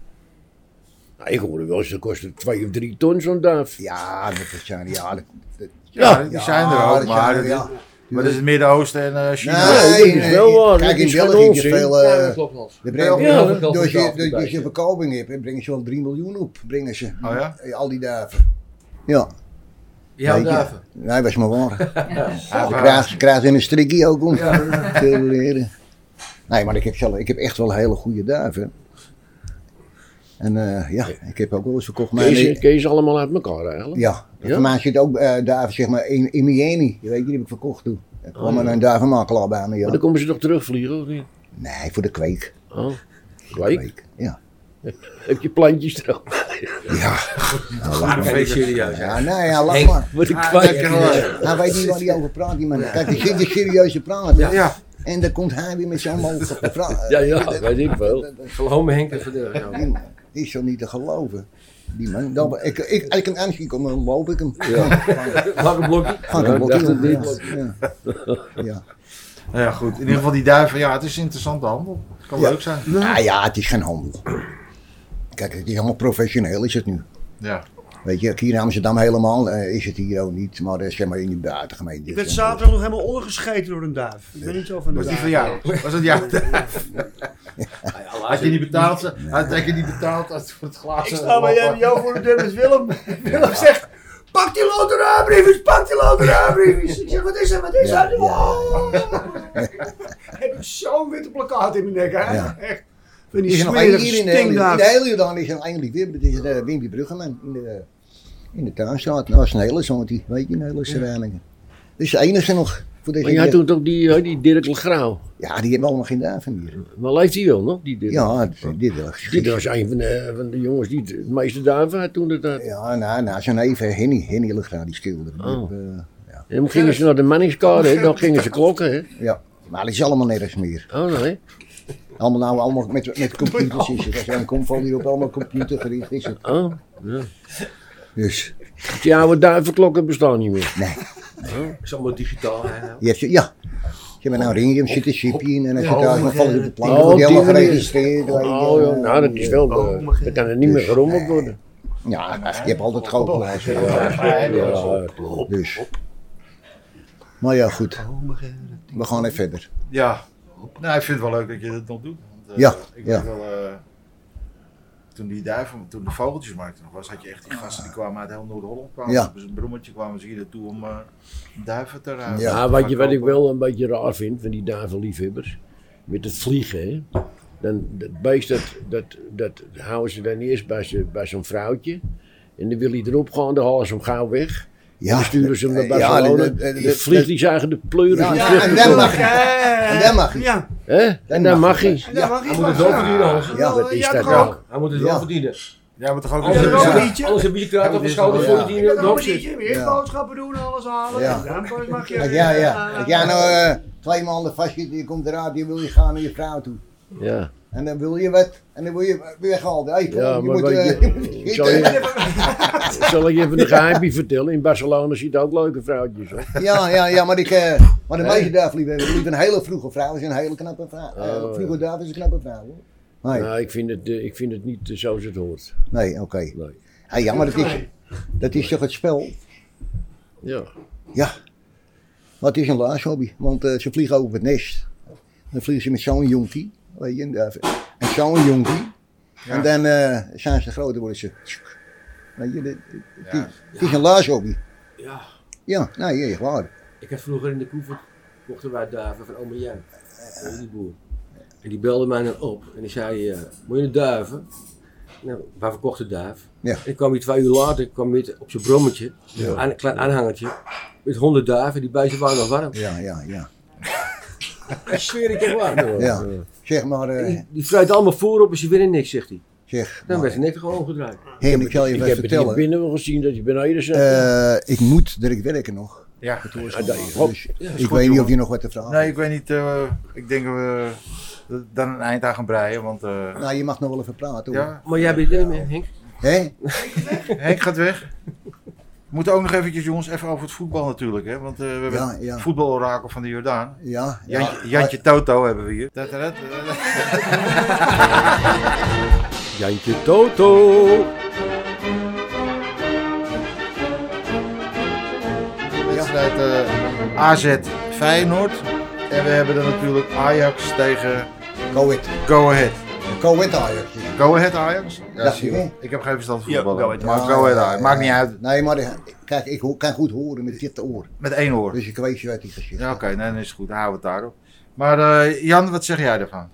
A: Nou, ik hoorde wel eens, dat kostte twee of drie ton zo'n duif.
B: Ja, dat zijn, ja, dat, dat-
C: Ja, die zijn er
B: ja,
C: ook.
B: dat
C: Maar
B: zijn er,
C: het-
B: ja.
C: Maar dat is het Midden-Oosten en eh, China.
A: Ja,
B: Nee,
A: dat is
B: nee,
A: wel waar.
B: Kijk,
A: Dat
B: in
A: is geen
B: België heb je
A: onzin.
B: veel...
D: Ja, dat
B: eh
D: klopt, Hans.
B: de
C: Ja,
B: brengen,
A: heel veel
D: geld
B: door
D: voor
B: je,
D: de
B: door je
D: afbreking.
B: verkoping hebt, brengen ze wel 3 miljoen op. Brengen ze.
C: Oh ja?
B: Eh, Al die duiven. Ja,
D: Jouw
B: Weet je.
D: duiven.
B: nee, was maar waar.
C: Ja,
B: Ze
C: maar-
B: krijgt- Ze krijgt in een strikkie ook om
D: Ja.
B: te leren. Nee, maar ik heb, zelf, ik heb echt wel hele goede duiven. En eh, ja, ik heb ook wel eens verkocht. Maar
A: Kees, Kees allemaal uit elkaar eigenlijk.
B: ja,
A: Ja?
B: voor mij zit ook eh duiven zeg maar in, in Miami. Je weet je, die heb ik verkocht toen. Er kwam er een duivenmakelaar bij me.
A: Maar
B: Ja.
A: dan komen ze toch terugvliegen of niet?
B: Nee, voor de kweek.
A: Oh.
B: De
A: Kijk,
B: kweek. Ja.
A: heb je plantjes erop?
B: Nou, laat
D: Maar
B: maar.
D: kijk, serieus. hè.
B: Ja, nee, ja, laat
D: Hey.
B: maar.
A: Wat een
C: Ah,
A: kwijt.
C: lekker hoor.
B: Hij weet niet waar hij over praat, die man. Kijk, die zit hier serieus te praten.
D: Ja.
C: Ja,
B: En dan komt hij weer met zo'n mogelijke vraag.
A: Ja, ja, weet ik wel.
D: Gewoon mijn Henk en Verdeur. ja.
B: Die man, die is zo niet te geloven. Die man. Dan, ik, ik, als ik hem aanzie kom, dan loop ik hem.
D: Welke blokje?
B: Ga
A: Ja,
B: ik hem
A: ik
B: blokken.
A: dacht
B: ja,
A: het
B: ja. Ja.
C: Nou ja, goed. In ieder geval die duiven, ja, het is een interessante handel. Kan
B: Ja.
C: leuk zijn.
B: Ah ja, het is geen handel. Kijk, het is helemaal professioneel is het nu.
C: Ja.
B: Weet je, hier in Amsterdam helemaal eh, is het hier ook niet, maar eh, zeg maar in die buitengemeente.
E: Ik werd zaterdag nog helemaal ondergescheten door een duif. Ik ben niet zo van de
C: Was die
E: duif.
C: van jou? Was dat jouw duif? Had je niet betaald? ze- Had had je niet betaald als voor het glazen?
E: Ik sta bij jou- jou voor de deur met Willem. Willem zegt, pak die loteraabriefjes, pak die loteraabriefjes. Ik zeg, wat is dat, wat is
B: Ja,
E: dat?
B: ja.
E: Oh. Heb ik zo'n witte plakkaat in mijn nek, hè?
B: Ja.
E: Echt. Van
B: Er
E: die
B: is nog één
E: smerige
B: hier in de hele- in
E: stinkduif.
B: de hele Jordaan is er eigenlijk weer, eh, het is de Wimpy Bruggeman in de, in de tuinstraat. Nou, Dat was een hele zomertie, weet je, een hele Sereningen. Dat is de enige nog. Voor deze
A: Maar jij had toen toch die, eh, die Dirk Legrauw?
B: Ja, die hebben allemaal geen duiven meer.
A: Maar leeft hij wel nog, die Dirk?
B: Ja, dit- dit wel.
A: Dit was een van de, van de jongens die het meeste duiven had toen. Dat, had.
B: Ja, nou, nou zo'n even Henny, Henny Legra, die schilderen. Die
A: Oh.
B: hebben, eh,
A: En dan gingen ze naar de manningskade, hè, dan gingen ze klokken. Hè.
B: ja. Maar dat is allemaal nergens meer.
A: Oh nee.
B: Allemaal nou, allemaal met, met computers is het. Als je aan komt, valt hier op allemaal computergericht is het.
A: Oh.
B: Dus,
A: Die oude duivenklokken bestaan niet meer.
D: Is allemaal digitaal. hè.
B: je hebt, ze- ja. Je hebt nou een ringje, er zit een chipje in en als je
C: Oh,
B: daar
C: oh,
B: nog valt op de plank,
A: oh,
B: dan wordt die
A: die
B: helemaal
A: manier.
B: geregistreerd. weet je.
A: Oh ja, nou dat is wel.
E: Oh,
A: eh,
E: mag je-
A: Dan kan er niet meer gerommeld worden.
B: Ja, maar je hebt altijd groot
A: Ja, ja,
B: Dus. Maar ja, goed.
E: Oh,
B: We gaan even verder.
C: Ja. Nou, ik vind het wel leuk dat je dat nog doet. Want, eh,
B: Ja,
C: Ik
B: ja.
C: weet wel, eh, toen die duiven, toen de vogeltjesmarkt er nog was, had je echt die gasten
A: Ah.
C: die kwamen uit heel Noord-Holland. kwamen.
B: Ja.
C: Dus een brommetje kwamen ze hier naartoe om eh, duiven te ruimen.
A: Ja, wat, je, wat ik wel een beetje raar vind van die duivenliefhebbers, met het vliegen, hè. Dan, dat beest, dat, dat, dat houden ze dan eerst bij, ze, bij zo'n vrouwtje. En dan wil hij erop gaan, dan halen ze hem gauw weg.
B: Ja,
A: dan sturen ze hem naar
B: eh, ja,
A: Barcelona.
B: dat- dat-
A: dan
B: dat-
A: vliegt hij zijn eigen de pleuren.
B: Ja,
A: van
B: ja,
A: terug
B: en
A: te
B: dan
A: komen.
B: mag je. En dan mag je.
E: Ja,
A: Hè? En dan mag hij.
E: en daar mag
D: Hij
E: ik
D: moet
E: maar.
D: het wel verdienen, Hans.
B: Ja,
E: Ja,
A: dat is
E: ja,
A: dat
E: toch
A: wel.
E: ook?
D: Hij moet het wel
B: Ja.
D: verdienen.
C: Jij moet toch ook
A: Oh,
E: Als er
D: Anders
E: wel
C: Ja.
E: een
D: heb
E: biertje?
D: je- anders heb je je kraat
C: Ja,
D: op de
C: dit is
D: schouder
B: wel-
D: voordat
B: ja.
D: hij in
E: Ja,
D: de
E: dan
D: dorp
E: moet
D: zit.
E: je weer
B: Ja.
E: boodschappen doen, alles halen.
B: Ja.
E: Dan pas mag je...
B: Als jij, ja, als jij nou eh, twee maanden vast zit, je komt eruit, je wil je gaan naar je vrouw toe.
A: Ja,
B: En dan wil je wat, en dan wil je weer gehaald. Hey, Paul,
A: ja
B: je
A: maar
B: moet,
A: weet
B: eh, je moet
A: je, zal,
B: zitten.
A: je, zal ik je even een geheimje vertellen? In Barcelona zitten ook leuke vrouwtjes. Hoor.
B: Ja, ja, ja, maar, ik, eh, maar de meeste duiven liever liever een hele vroege vrouw, is een hele knappe vrouw. Eh,
A: Oh,
B: vroege duif is een knappe vrouw. Hoor. Nee,
A: Nou, ik vind het, eh, ik vind het niet eh, zoals het hoort.
B: nee, oké.
A: Nee.
B: Hey, ja, maar dat is, dat is toch het spel?
A: Ja.
B: Ja. Maar het is een laarshobby, want eh, ze vliegen over het nest. Dan vliegen ze met zo'n jonkie, weet je, een duif. En zo'n jonkie. En dan eh, zijn ze groter, worden ze. Weet je, dit- het,
C: Ja.
B: is, het is een laarshobby.
D: Ja,
B: Ja, nee, echt waar.
D: ik had vroeger in de koever kochten wij duiven van oma Jan, van die boer. En die belde mij dan op en die zei, eh, moet je een duiven? Nou, wij verkochten duif.
B: Ja.
D: En ik kwam hier twee uur later kwam met op zijn brommetje, aan, een klein aanhangertje, met honderd duiven, die beesten waren nog warm.
B: Ja, ja, ja.
D: Ik zweer, ik heb warm.
B: ja. Zeg maar, eh,
D: Die, die fruit allemaal voor op en ze winnen niks, zegt hij.
B: zeg.
D: Dan
B: maar,
D: werd ze net gewoon omgedraaid.
B: Hey, ik zal je
A: Ik
B: wat
A: heb het hier
B: vertellen.
A: binnen wel gezien dat je beneden zat.
B: Eh, ik moet direct werken nog.
C: Ja.
A: Ah, dat is-
B: Dus
D: is
B: ik weet
C: goed,
B: niet
C: jongen.
B: of je nog wat te vragen
C: Nee, ik weet niet. eh, ik denk dat we dan een eind aan gaan breien, want... eh,
B: hebt. Nou, je mag nog wel even praten hoor.
C: ja.
D: Maar jij bent er niet meer, Henk?
B: Hé?
C: Henk gaat weg. We moeten ook nog eventjes, jongens, even over het voetbal natuurlijk. Hè? Want eh, we hebben
B: Ja,
C: het
B: ja.
C: voetbalorakel van de Jordaan.
B: Ja, ja.
C: Jantje, Jantje Toto hebben we hier. Dat, dat, dat, dat.
A: Jantje Toto.
C: De wedstrijd eh, AZ Feyenoord. En we hebben dan natuurlijk Ajax tegen
B: Go-it.
C: Go Ahead.
B: Go-it Ajax.
C: Go Ahead Ajax?
B: Ja,
C: zie je.
B: ja.
C: Ik heb geen verstand van
E: Ja,
C: voetballen.
E: Go Ahead
C: maar
B: Ajax.
C: Go Ahead Ajax. Maakt niet uit.
B: Nee, maar de- kijk, ik ho- kan goed horen met dit oor.
C: Met één oor.
B: Dus ik weet je wat hij gezegd
C: Ja,
B: heeft.
C: oké. nee, dan is het goed. Dan houden we het daarop. Maar eh, Jan, wat zeg jij daarvan?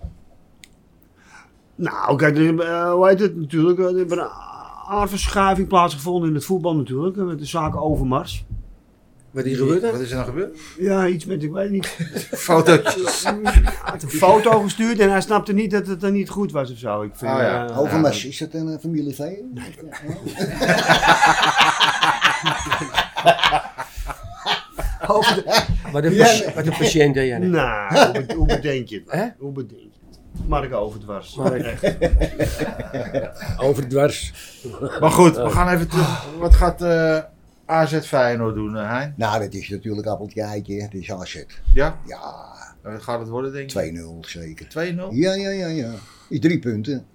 F: Nou, kijk, er, is, eh, hoe heet het natuurlijk? Er heeft een aardverschuiving plaatsgevonden in het voetbal natuurlijk. eh, Met de zaak Overmars.
D: Wat hier gebeurt
C: Wat
D: er?
C: is er nou gebeurd?
F: Ja, iets met, ik weet niet.
C: Fotootjes.
F: Hij had een foto gestuurd en hij snapte niet dat het dan niet goed was of zo. Ik vind,
C: Oh ja.
F: eh,
B: Overmars, is dat een eh, familievee? Nee.
D: Wat een,
B: Ja.
D: patiënt- wat een patiënt, hè, Janne.
F: Nou, hoe bed- hoe bedenk je het?
D: Hè?
F: Hoe bedenk je het? Mark Overdwars.
D: Maar ik-
A: Overdwars.
C: Maar goed,
B: Oh.
C: we gaan even terug. Wat gaat eh, AZ Feyenoord doen, eh, Hein?
B: Nou, dat is natuurlijk appeltje eitje. Het is asset.
C: Ja? Eh,
B: Ja,
C: Wat gaat het worden, denk je?
B: 2-0 zeker.
C: 2-0.
B: Ja, ja, ja, ja. Is drie punten.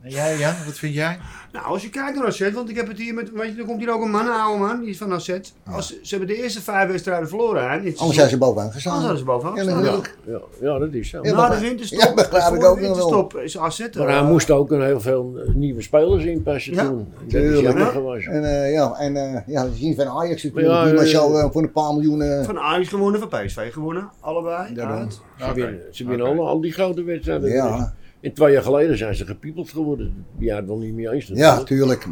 C: En jij, Jan, wat vind jij?
F: Nou, als je kijkt naar AZ, want ik heb het hier met, weet je, er komt hier ook een man, een oude man, die is van AZ. Als, ze hebben de eerste vijf wedstrijden verloren. Hè, dit
B: Anders
F: seizoen.
B: Oh, zijn ze bovenaan gestaan.
F: Anders zijn ze bovenaan
B: Ja,
F: gestaan. Nou,
B: natuurlijk.
A: Ja, ja, dat is zo.
B: Ja.
F: Na de
B: Ja,
F: winterstop,
B: dat begrijp ik
F: voor de
B: ook nog wel.
F: winterstop is AZ er,
A: Maar hij
F: eh,
A: moest ook een heel veel eh, nieuwe spelers inpassen
F: Ja,
A: toen. Dat is
B: tuurlijk,
A: jammer
F: hè?
A: geweest.
B: En eh, ja, en eh, ja, we zien van Ajax natuurlijk.
A: Ja,
B: die
A: eh,
B: maar zo eh, voor een paar miljoen. eh,
F: van Ajax gewonnen, van PSV gewonnen, allebei.
B: Daarom.
F: uit.
A: Ze
C: Oké.
A: winnen, ze winnen
C: Oké.
A: alle, al die grote wedstrijden.
B: ja,
A: En twee jaar geleden zijn ze gepiepeld geworden. Die had het wel niet meer eens.
B: ja,
A: natuurlijk.
B: tuurlijk.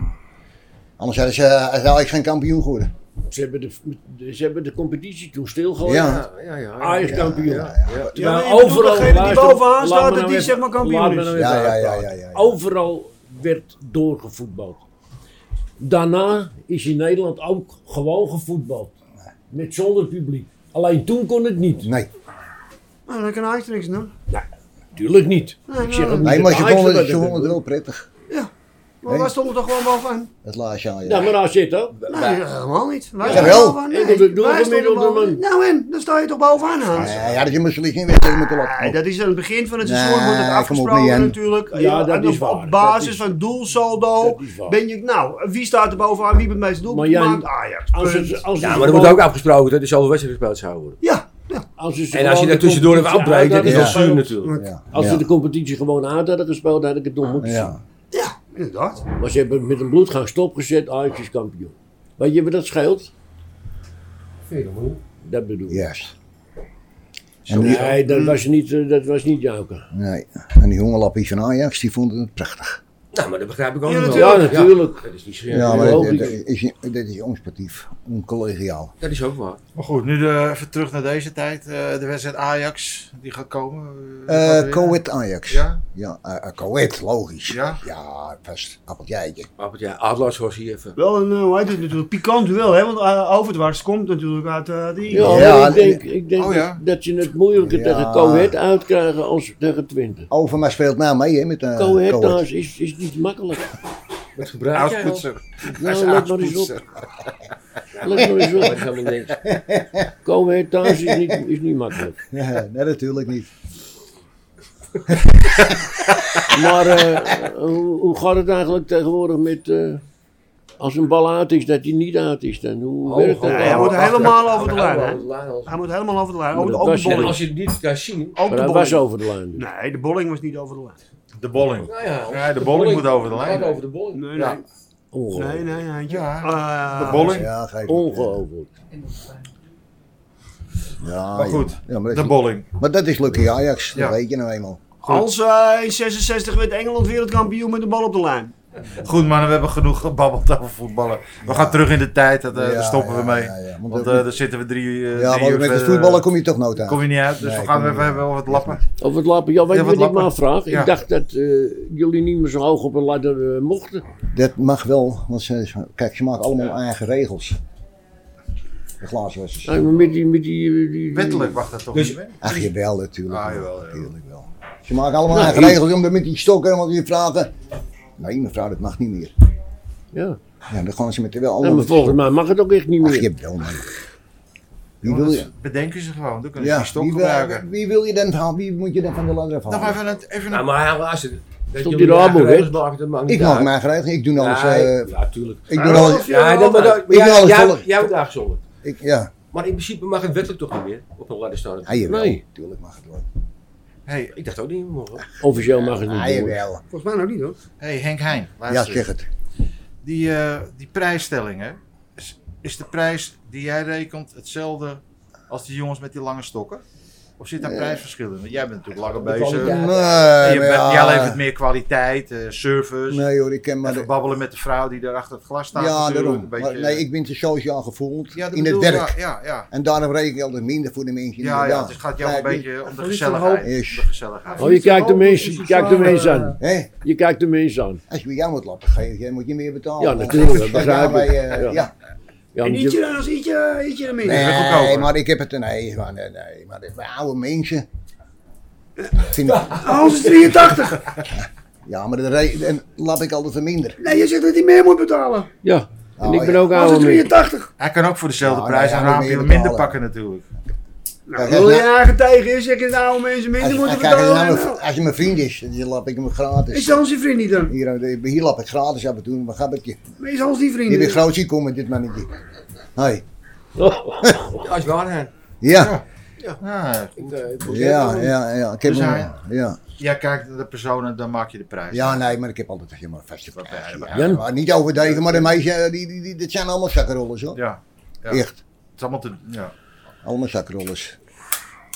B: Anders hadden ze eh, als Ajax geen kampioen geworden.
A: ze, hebben de, de- ze hebben de competitie toen stilgehouden.
B: Ja.
D: Ja, ja, ja.
A: Ajax kampioen.
B: Ja, ja, ja.
F: Ja, maar
A: Terwijl
F: ik bedoel,
A: overal.
F: degene die
A: luister,
F: bovenaan
A: laat
F: staat,
A: me nou
F: dat die
A: even-
F: zeg maar kampioen
A: laat me
F: is.
A: nou even
B: Ja, ja, ja,
A: uitpraten.
B: ja, ja.
A: Overal werd doorgevoetbald. Daarna is in Nederland ook gewoon gevoetbald. Met zonder publiek. Alleen toen kon het niet.
B: Nee,
F: Nou, dan kan Ajax er niks aan doen.
A: Tuurlijk niet.
F: Nee,
A: Ik zeg
F: nee.
A: ook niet
B: nee maar
A: dat
B: ze
A: Ajax
B: vonden,
A: dat
B: ze
A: het
B: vonden het
A: doet.
B: wel prettig.
F: Maar
B: Nee.
F: wij stonden toch gewoon bovenaan?
B: Het laatste jaar.
A: Ja, maar daar zit ook.
F: Nee, helemaal niet. Wij
B: Ja,
F: stonden
B: wel.
F: bovenaan. Nee,
A: Ik bedoel, doe
F: wij
A: het
F: stonden
A: gemiddelde
F: bovenaan. Nou en, dan sta je toch bovenaan, Hans?
B: Ja, ja, dat je misschien in wedstrijd moeten
F: Nee,
B: laten.
F: dat is aan het begin van het
B: Nee,
F: seizoen wordt het
B: kom op,
F: afgesproken
B: Jan.
F: natuurlijk.
A: Ja, dat
F: en
A: is
F: op,
A: waar.
F: op basis
A: Dat is-
F: van doelsaldo
A: dat is waar.
F: ben je, nou, wie staat er bovenaan, wie heeft het meeste doelpunten
A: Maar Jan,
F: gemaakt? Ajax,
A: Als
F: punt.
A: het, als het
D: Ja, maar er wordt ook afgesproken dat er zoveel wedstrijden gespeeld zouden worden.
F: Ja, ja.
A: Als ze
D: En als je
A: gewoon
D: daar
A: de
D: tussendoor even
A: competitie
D: afbreekt,
A: uit
D: dat is
A: hadden
D: wel zuur
A: gespeeld-
D: natuurlijk.
B: Ja,
A: Als
B: ja,
A: ze de competitie gewoon uit hadden gespeeld, had ik het nog moeten zien.
B: ja.
F: ja, inderdaad.
A: Maar ze hebben met een bloedgang stopgezet, Ajax is kampioen. Weet je wat dat scheelt? Dat bedoel ik.
B: Juist. En die,
A: Nee,
D: Mm.
A: dat was niet, eh, dat was niet Jouke.
B: nee. en die hongerlappie van Ajax, die vonden het prachtig.
D: Nou, maar dat begrijp ik ook
F: Ja,
D: nog wel.
A: Ja, natuurlijk.
D: Dat is niet zo.
B: Ja, maar dat,
A: logisch.
B: dat is, dat is onsportief, oncollegiaal.
D: Dat is ook waar.
C: Maar goed, nu de- even terug naar deze tijd. Eh, de wedstrijd Ajax, die gaat komen. Eh, gaat er
B: Eh
C: weer-
B: Coët Ajax.
C: Ja?
B: Ja, eh, eh, Coët, logisch.
C: Ja?
B: Ja, vast. Appeltje eitje.
D: Maar ja, Atlas was hier even.
F: Wel een, eh, hoe heet het natuurlijk, pikant duel, hè? Want eh, Overdwars komt natuurlijk uit eh, die...
A: Ja,
B: Ja,
A: maar ik
B: en-
A: denk, ik denk
C: Oh, ja.
A: dat je het moeilijker
B: Ja.
A: tegen Coët uitkrijgen als tegen Twente.
B: Overmars speelt nou mee hè, met eh
A: Coët
B: Coët.
A: thuis is, is niet makkelijk.
D: Wat gebruik jij al?
C: Oudspoetser. Hij is
A: Nou, let maar eens op.
C: oudspoetser.
A: Let maar eens
D: Maar dat is
A: op.
D: helemaal niks.
A: Coët thuis is niet, is niet makkelijk.
B: Ja, nee, natuurlijk niet.
A: Maar eh, hoe, hoe gaat het eigenlijk tegenwoordig met... eh, als een bal uit is, dat hij niet uit is, dan hoe werkt dat?
F: nee, hij wordt
D: achter-
F: helemaal over de
D: Hij wordt
F: lijn, hè?
D: helemaal over de lijn.
F: Hij moet helemaal over de lijn, ook,
A: Maar dat
F: ook
A: was
F: de bolling.
D: Als je het niet kan zien.
F: Ook
A: maar
F: de
A: hij
F: bolling.
A: was over de lijn. dus.
F: Nee, de bolling was niet over de lijn.
C: De bolling.
D: Nou ja,
C: Ja, de bolling moet over de lijn.
D: Gaat over de bolling.
F: Nee,
C: Ja.
F: nee.
A: Ongelooflijk.
F: Nee, nee, Haantje.
C: Ja,
F: Eh,
B: Ah,
C: De bolling.
B: Ja, geef niet.
A: Ongelooflijk.
B: Ja,
C: Maar
B: ja.
C: goed,
B: Ja, maar, dat
C: De
B: is,
C: bolling.
B: maar dat is Lucky Ajax, dat
C: Ja.
B: weet je nou eenmaal.
F: Als eh, in 66 werd Engeland wereldkampioen met de bal op de lijn.
C: Goed mannen, we hebben genoeg gebabbeld over voetballen. We gaan terug in de tijd, dat, eh,
B: Ja,
C: daar stoppen we
B: ja,
C: mee.
B: ja, ja. Want
C: Want
B: dat-
C: eh, daar zitten we drie, eh,
B: Ja,
C: drie
B: maar
C: uur
B: met het
C: verder. eh,
B: voetballen kom je toch nooit aan.
C: Kom je niet uit, dus
B: Nee,
C: we gaan
B: kom
C: even
B: je-
C: hebben over het lappen.
A: Over het lappen. Ja, weet
C: Ja,
A: je
C: wat
A: wat ik me
C: lappen.
A: afvraag?
C: Ja.
A: Ik dacht dat eh, jullie niet meer zo hoog op een ladder eh, mochten.
B: Dat mag wel, want ze, ze- kijk, ze maken allemaal eigen regels. De glaaswassers.
A: Ja, maar met die, met die, eh, die- die-
C: Wettelijk mag dat toch
D: Dus-
C: niet meer?
B: Ach, jawel, natuurlijk.
C: Ah,
B: wel,
C: jawel, ja.
B: natuurlijk wel. Ze maken allemaal eigen
A: ik-
B: regels om dat met die stokken, want die vragen. Nee, mevrouw, dat mag niet meer.
A: Ja.
B: Ja, dan gaan ze met wel
A: Ja,
B: allemaal.
A: maar
B: met die
A: volgens mij mag het ook echt niet
B: stokken. Ach,
A: meer.
B: jawel, man. Wie wil je?
C: Dat Bedenken ze gewoon, dan kunnen ze
B: Ja,
C: die stok
B: wie, Oh. wil,
C: gebruiken.
B: wie wil je dan van? Wie moet je dan van de ladder
C: Nog
B: van?
C: even een... Even
D: Nou,
C: een
D: maar hij was het. Dat
A: Stond
D: jullie
A: in de
D: eigen
A: handboek, hè?
D: regels maken, dat maakt niet
B: Ik mag
D: uit.
B: mijn eigen regels, ik doe alles.
D: Nee,
B: eh,
D: Ja, tuurlijk.
B: ik doe alles.
D: Ja, dat- maar dat-
B: Ik wil
D: jij-
B: alles
D: jij-
B: volgen.
D: Jij wordt uitgezonderd.
B: Ik, ja.
D: Maar in principe mag het wettelijk toch niet meer op een ladderstand.
B: Ah, jawel.
A: Nee.
B: Tuurlijk mag het wel.
C: Hey,
D: Ik dacht ook niet meer mogen.
A: Officieel mag het niet.
B: Ah,
A: hoor.
B: jawel.
F: Volgens mij nog niet hoor.
C: hey Henk Heijn,
B: Ja,
C: luister eens.
B: zeg het.
C: Die, eh, die prijsstelling, hè? Is, is de prijs die jij rekent hetzelfde als die jongens met die lange stokken? Of zit daar prijsverschil in? Want jij bent natuurlijk langer bezig.
B: Nee,
C: En
B: maar
C: je bent- Jij levert
B: ja.
C: meer kwaliteit, eh, service.
B: Nee hoor, ik ken maar...
C: Even
B: de-
C: babbelen met de vrouw die daar achter het glas staat.
B: Ja,
C: natuurlijk,
B: daarom.
C: Een beetje,
B: Maar Nee, ik ben te sociaal gevoeld
C: Ja, dat
B: in het
C: bedoel ik,
B: werk.
C: Ja, ja, ja.
B: En daarom reken ik altijd minder voor de mensen.
C: ja, ja,
B: inderdaad.
C: het gaat jou
B: Ja,
C: een
B: ik
C: beetje om de
D: niet van
C: gezelligheid.
B: hoop. Is.
C: Om de gezelligheid.
A: Oh, je kijkt de mensen, je kijkt de mensen aan.
B: ben- Hè?
A: Je kijkt de mensen aan.
B: Als je bij jou moet lappen, geef je- moet je meer betalen.
A: Ja, natuurlijk, dat
B: Ja,
A: begrijp ik.
B: wij, eh,
A: Ja.
B: ja.
A: Ja,
F: En
A: want
F: ietsje
A: je-
F: dan als ietsje, ietsje dan minder.
C: is wel
B: Nee,
C: goedkoper.
B: maar ik heb het... Nee, maar, nee, nee, maar de- wij oude mensen... Vind ik-
F: Hans is 83.
B: ja, maar dan re- dan lap ik altijd minder.
F: Nee, je zegt dat hij meer moet betalen.
A: ja. En
B: Oh,
A: ik ben
B: ja.
A: ook
F: Hans is
A: ouder. mensen.
F: 83.
C: Hij kan ook voor dezelfde
B: Ja,
C: prijs
B: nee,
C: een
B: hij moet
C: raampje
B: meer
C: minder
B: betalen.
C: pakken natuurlijk.
F: Nou,
B: Kijk,
F: wil
B: als
F: je eigen tegen is, zeg je nou mensen minder
B: Als,
F: moeten
B: kijk, als, je nou
F: betalen.
B: mijn- als je mijn vriend is, dan lap ik hem gratis.
F: Is Hans je vriend niet dan?
B: Hier, eh, hier lap ik gratis af en toe, maar gaat het je?
F: Is Hans die vriend?
B: Je bent groot zien komen, dit mannetje. Hoi.
D: Ja, is waar, hè?
B: Ja,
C: Ja,
B: ja, ja, ja. Ik heb
C: Dus
B: hem-
C: hij-
B: ja.
C: jij kijkt naar de persoon en dan maak je de prijs.
B: ja, nee, maar ik heb altijd helemaal vaste
C: Wat
B: prijzen.
C: bij-
B: Ja,
A: Jan?
B: maar niet overdreven, maar de meisjes, eh, die, die, die, dit zijn allemaal zakkenrollers hoor.
C: Ja, ja.
B: Echt,
C: het is allemaal te, ja.
B: allemaal zakkenrollers.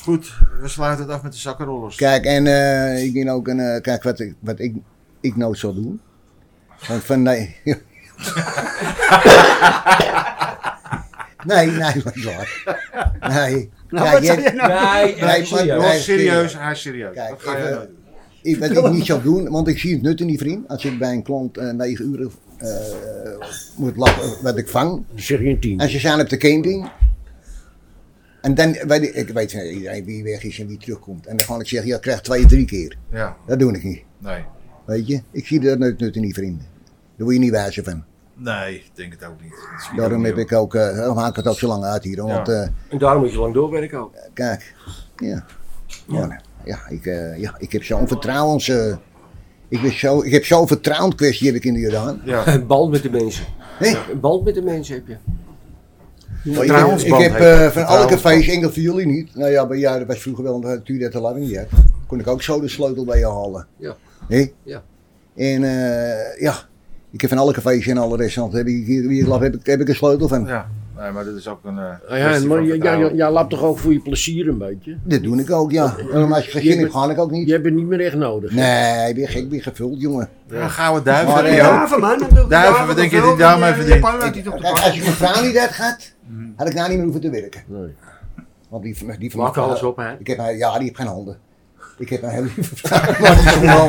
C: Goed, we sluiten het af met de zakkenrollers.
B: Kijk, en eh, ik ben ook een, eh, kijk wat, ik- wat ik, ik nou zal doen. Want van nee. nee, nee, dat is waar. Nee.
F: Nou,
B: Kijk,
F: wat
B: jij-
F: zei je nou?
D: Nee,
B: Nee,
D: echt
B: maar-
D: serieus.
C: Jongens,
B: Nee,
C: serieus,
B: serieus.
C: hij is serieus.
B: Kijk,
C: dat ga jij
B: even-
C: nooit doen.
B: Ik, wat ik niet zou doen, want ik zie het nut in die vriend. Als ik bij een klant eh, negen uur eh, moet lappen wat ik vang.
A: Dan zeg je een tien.
B: En ze zijn op de camping. En dan weet ik, ik weet van iedereen wie weg is en wie terugkomt. En dan ga ik zeggen, ja, ik krijg twee, drie keer.
C: Ja,
B: Dat doe ik niet.
C: nee.
B: Weet je, ik zie er nut, nut in die vrienden. Daar word je niet wijzer van.
C: Nee, ik denk het ook niet. Dat schiet ook
B: Daarom
C: niet
B: heb
C: op.
B: ik ook, eh, daarom haak ik het ook zo lang uit hier. hoor,
C: Ja.
B: Want eh,
D: En daarom moet je lang doorwerken ook.
B: kijk, ja. Ja, ja, ik, eh, ja ik heb zo'n vertrouwens... eh, ik, ben zo, ik heb zo'n vertrouwenskwestie heb ik in de Jordaan.
C: Ja,
D: Een band met de mensen.
B: Hé?
D: Een band met de mensen heb je.
B: Maar ik heb, ik
C: Vertrouwensband
B: heb
C: heet dat,
B: eh, van alle
C: vertrouwensband.
B: cafés, enkel voor jullie niet. Nou ja, bij jou, dat was vroeger wel, natuurlijk duurde dat te lang niet. Hè. Kon ik ook zo de sleutel bij je halen.
D: Ja.
B: Hé?
D: Ja.
B: En eh, ja, ik heb van alle cafés en alle restaurants, heb ik, hier, hier, heb ik, heb ik een sleutel van.
C: ja. Nee, maar dit is ook een. eh,
A: Ah, ja,
C: kwestie
A: maar
C: van
A: jij ja,
C: vertrouwen.
A: lapt toch ook voor je plezier een beetje?
B: Dat doe ik ook, ja. En als ik geen
A: Je
B: zin heb,
A: bent-
B: ga ik ook niet.
A: Je hebt het niet meer echt nodig.
B: Nee, ik ben gek, ik ben gevuld, jongen.
C: Ja, een gouden duif.
B: Maar,
C: heb je
B: eh,
C: ook.
F: Ja, van man. dan doe ik
C: Duiven,
F: Java
C: wat denk je
F: nog
C: die
F: wel,
C: daarmee
F: en, eh,
C: verdient?
F: Japan laat hij toch Hmm. de
B: Kijk,
F: paal.
B: als ik mijn vrouw niet had gehad, had ik nou niet meer hoeven te werken. Want die, die van
D: Maak
B: mijn
D: alles
B: vrouw-
D: op, hè?
B: Ik heb, haar- ja, die heeft geen handen. Ik heb een hele lieve vrouw, maar die is gewoon-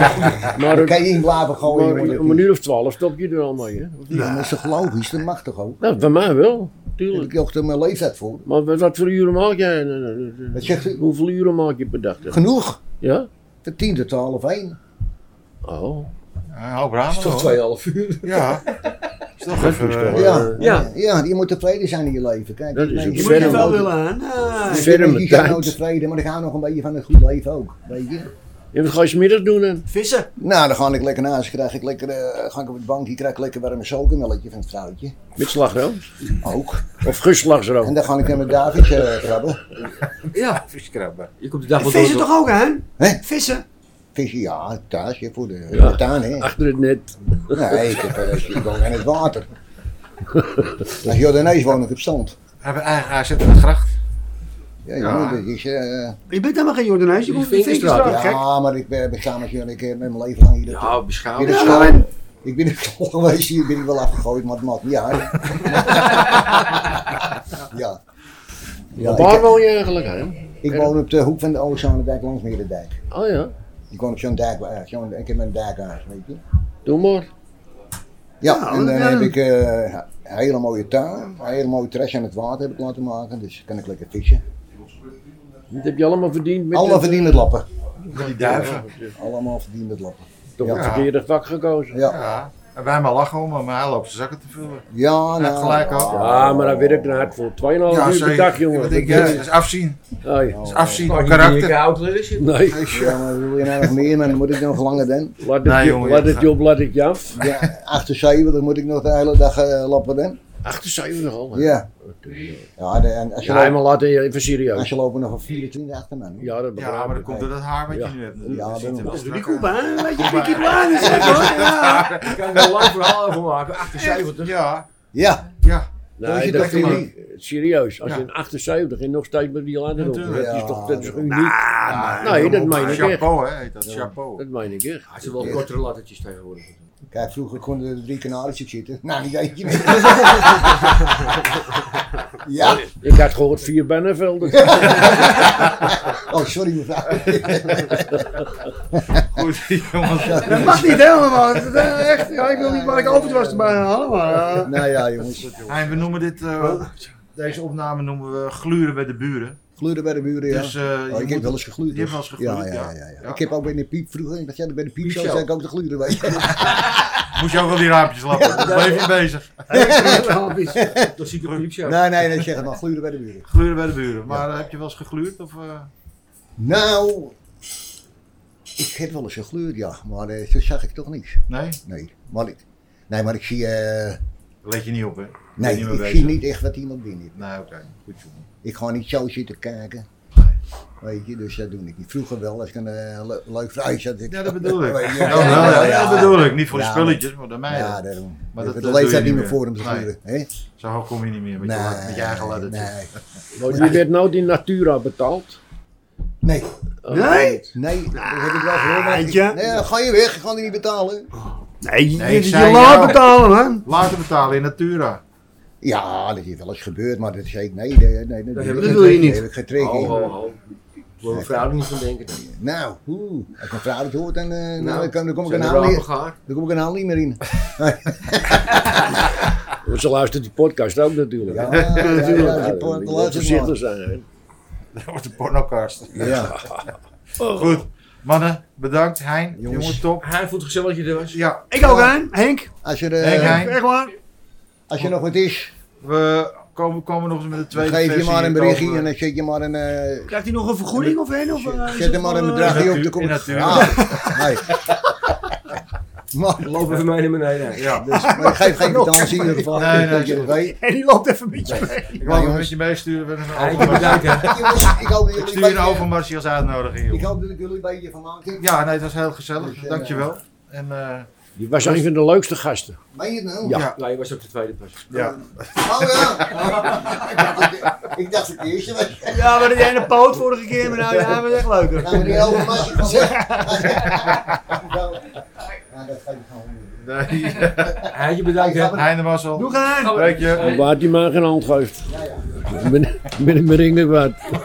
A: Maar-
B: Daar kan je in blijven gooien,
A: Maar
B: jongen.
A: om een uur of twaalf stop je er al mee. Hè?
B: Ja, maar dat is toch logisch, dat mag toch ook?
A: Nou, bij mij wel,
B: Daar heb
A: tuurlijk.
B: ik ook mijn leeftijd voor.
A: Maar wat, wat voor uren maak jij? Nou, nou, nou, nou,
B: Wat zegt u?
A: Hoeveel uren maak je per dag? dan?
B: Genoeg,
A: Ja?
B: van 10 tot 12, 1.
A: Oh.
C: Ja, hou braaf.
D: Toch
C: hoor.
D: tweeënhalf uur.
C: Ja. Is toch
A: Dat
C: even,
A: is
C: eh,
A: toch-
B: Ja,
D: Ja.
B: ja. ja, je moet tevreden zijn in je leven. Kijk,
A: Dat is
B: mensen-
A: ook
F: Je moet je
A: Verder
F: wel
A: moet-
F: willen aan. Ah.
A: Ver-
B: Ik
A: Verder
B: ben
A: met
B: niet zo nou
A: tijd.
B: tevreden, maar ik hou nog een beetje van een goed leven ook. Weet je?
A: En wat ga je smiddags doen dan?
D: Vissen.
B: Nou, dan ga ik lekker naast. Krijg ik lekker, eh, ga ik op het bankje, krijg ik lekker warme sokenmelletje van het vrouwtje.
A: Met slagroom?
B: Ook.
A: Of geslagsroom?
B: En dan ga ik naar mijn Davidje eh, krabben.
D: Ja.
C: viskrabben.
D: Je komt de dag wel door.
F: Vissen toch ook aan?
B: Hè?
F: Vissen.
B: Vissen, ja, thuis, hè, voor de,
A: Ja.
B: de tuin, hè.
A: Achter het net.
B: Nee, ik heb eh, ik woon in het water. Als Jordanees woon ik op stand.
C: Hebben eigen AZ in de gracht.
B: Ja,
C: Ja.
B: jongen, dat is... eh,
F: Je bent helemaal geen Jordanees. Je
D: Die
F: komt van de
D: Vinkenstraat,
F: Vinkenstraat, Oh, gek.
B: ja, maar ik ben, ik ben samen met ik heb mijn leven lang hier. op-
D: Ja,
B: Hier
D: beschouwd.
B: op
F: Ja,
B: school.
F: maar-
B: Ik ben op school geweest, hier ben ik wel afgegooid, maar het maakt niet uit. ja. ja ik-
A: Waar woon je eigenlijk aan?
B: Ik woon op de hoek van de Oostzaandijk langs Meerdijk.
A: Oh ja,
B: Ik woon op zo'n dijk, eh, zo'n, ik heb een dijkhuis, weet je.
A: doe maar.
B: Ja,
F: Nou,
B: en dan
F: ja.
B: heb ik eh, een hele mooie tuin, een hele mooie terras aan het water heb ik laten maken, dus kan ik lekker vissen.
A: Dat heb je allemaal verdiend met
B: Allemaal
A: de-
B: verdiend het lappen.
C: Die duiven.
B: Allemaal verdiend het lappen.
A: toch
B: Ja.
A: een verkeerde vak gekozen.
B: Ja,
C: Ja. En wij maar lachen om hem, maar hij loopt zijn zakken te vullen.
B: ja nou.
C: gelijk ook.
A: Ja, maar dat werkt hard voor 2,5 uur per dag, Oh, jongen.
C: Wat denk je?
A: Dat
C: Dat is afzien.
A: doe je-
C: Dat is afzien
D: Maar
C: op
D: die dikke
C: karakter.
D: oud lul is oh, je.
A: Nee,
B: Ja, maar wil je nou nog meer, man? Dan moet ik nog langer dan.
A: laat het,
C: Nee,
A: job,
C: jongen,
A: laat
C: ja,
A: het job, laat ik je af.
B: Ja, 78, dan moet ik nog de hele dag eh, lappen dan.
A: 78 al. hè?
B: Ja. Ja, de- en als je,
A: Ja,
B: loopt,
A: maar laten we even
B: als
A: serieus.
B: je loopt nog een 24 achter man.
A: Ja, dat begrijp
C: Ja, maar dat
A: ik.
C: komt door dat haar wat je
A: Ja.
C: nu hebt. natuurlijk.
B: Ja,
C: Dat ziet er
B: daarom.
C: wel
F: Doe die
C: strak
F: koep aan, een beetje
C: Koep aan.
F: Pikkie Blind is het, hoor. Ja.
D: Daar kan ik er een lang verhaal over maken. dus- 78.
C: uit. Ja,
B: Ja,
C: ja.
B: Zo is
A: Nee,
B: het
A: dat
B: echt
A: vind
B: uniek.
A: ik serieus. Als
C: Ja.
A: je in 78 en nog steeds met die ladder op.
C: Natuurlijk.
A: Dat is toch dat is
B: Ja.
A: uniek.
C: Ah,
A: nee, dat
C: moet-
A: meen ik echt.
C: Chapeau, hè? heet Dat chapeau.
A: Dat meen ik echt.
D: Hij Ah, ze wel kortere lattertjes tegenwoordig.
B: kijk, vroeger konden er drie kanalen zitten. Nou, niet eentje meer. ja,
A: Ik had gehoord vier Bennevelden.
B: oh sorry mevrouw.
C: Goed, jongens.
F: Dat mag niet helemaal. Dat is echt, ja, ik wil niet Mark Overtwas erbij halen, maar... eh,
B: Nou ja jongens,
C: Hein, we noemen dit, eh, deze opname noemen we gluren bij de buren.
B: gluren bij de buren ja.
C: Dus, eh,
B: Oh, ik
C: je
B: heb
C: moet-
B: wel eens gegluurd.
C: Je hebt wel
B: hoor.
C: eens gegluurd,
B: ja,
C: ja.
B: ja, ja, ja.
C: Ja.
B: Ik heb ook bij de piep vroeger, ik dacht, ja, bij de piep
D: Piepshow.
B: zou ik ook te gluren, weet je.
C: Moest je ook wel die raampjes lappen. Bleef je bezig.
D: Dat zie ik op YouTube.
B: Nee, nee, nee, zeg het maar, gluren bij de buren.
C: Gluren bij de buren. Maar eh, heb je wel eens gegluurd? Of, eh?
B: Nou, ik heb wel eens gegluurd, ja, maar eh, toen zag ik toch niks.
C: Nee?
B: Nee, maar ik, nee, maar ik zie, eh,
C: Let je niet op, hè? Ben je
B: nee,
C: niet
B: ik
C: mee bezig?
B: zie niet echt wat iemand binnen heeft.
C: Nee, oké. Goed, jongen.
B: Ik ga niet zo zitten kijken. Weet je, dus dat doe ik niet. Vroeger wel, als ik een eh, le- leuk vrouwtje had.
C: Ja, dat bedoel ik.
B: Weet je,
C: Ja, nou, ja,
B: ja.
C: dat bedoel ik. Niet voor de
B: Ja,
C: spulletjes, maar de meiden.
B: Ja, daarom.
C: Maar
B: Maar
C: dat-
B: de
C: dat doe je
B: leeftijd
C: niet
B: niet meer
C: meer.
B: voor hem te
C: Nee.
B: gluren. hè?
C: Zo hoog kom je niet meer met, je, la- met je eigen laddertje.
B: nee.
A: Want je werd nooit in Natura betaald. Eh,
B: Nee,
F: Nee?
B: nee, dat heb ik wel gehoord. maar ik-
F: Eindje.
B: Nee, dan ga je weg, ik ga die niet betalen.
F: Nee, je,
C: Nee,
F: je,
C: ik
F: je
C: zei
F: laat
C: jou.
F: betalen, man.
C: Later betalen in Natura.
B: Ja, dat is wel eens gebeurd, maar dat zei ik nee. nee, nee,
D: Dat
B: heb ik
D: wil
B: geen-
F: je niet.
B: Daar heb ik geen trek
D: Ho,
B: in.
D: ho, ho. Moet mijn vrouw er niet van denken.
B: Nou, oeh, als mijn vrouw het hoort, dan, eh, nou,
D: Nou,
B: dan, kan- dan kom ik
D: Zijn
B: een
D: de
B: haal
D: rapen
B: niet-
D: gaar?
B: dan kom ik een haal niet meer in.
A: Maar Ze luistert die podcast ook natuurlijk.
B: Ja,
A: Ja.
B: ja, ja, ja,
A: Natuurlijk.
B: ja,
A: Je moet
B: ja,
A: voorzichtig zijn. hè.
C: Dat wordt een pornocast.
B: ja,
C: Goed. Mannen, bedankt. Hein,
B: Jongens.
C: jongen, top.
D: Hij voelt gezellig dat je er was.
C: Ja,
F: Ik ook aan, Henk.
B: als je,
C: Henk,
B: eh
C: Hein.
F: Echt waar.
B: als je nog wat is,
C: we komen, komen nog eens met de
B: dan
C: tweede
B: geef je
C: versie
B: maar een
C: hierover.
B: berichtje en dan zet je maar een... eh,
F: Krijgt hij nog een vergoeding of een? Of, eh, is
B: Zet er
F: het
B: maar
F: wel,
B: een
F: eh,
B: bedragje op,
C: in
B: dan kom ik...
C: natuur.
B: Ah, nee. Maar,
D: Loop even mee naar beneden.
C: Ja,
B: dus, maar ik geef geen betaling in ieder geval.
C: Nee, nee,
B: Dat je-
C: goed.
B: weet.
F: En die loopt even een beetje mee.
C: ik wil hem
B: jongens.
C: een beetje meesturen. met een
D: Hij
C: overmars.
D: bedankt hè.
B: Jongens, ik hoop dat
C: Ik
B: jullie
C: stuur een
B: een beetje-
C: overmarsje als uitnodiging,
B: ik
C: jongen.
B: hoop dat ik jullie een beetje van maken.
C: Ja, nee, het was heel gezellig.
B: Dus, eh,
C: Dankjewel. En, eh,
A: Die was een van de leukste gasten.
B: Meen je het nou?
C: Ja.
D: Nou, je was ook de tweede pas.
C: ja.
B: Oh ja! ik, dacht, ik, ik dacht het eerste was.
F: Ja, we hadden een poot vorige keer, maar nou, ja, dat is echt leuker.
B: Nou, die oude masje van zeg. Ja, dat ga ik gewoon doen.
C: Nee.
D: Hij je bedankt hè.
C: Hein de Marcel.
F: Doe gaan.
C: Dank je.
A: Waar die maar geen hand geeft. Ben, ben ik mijn ring weer kwijt.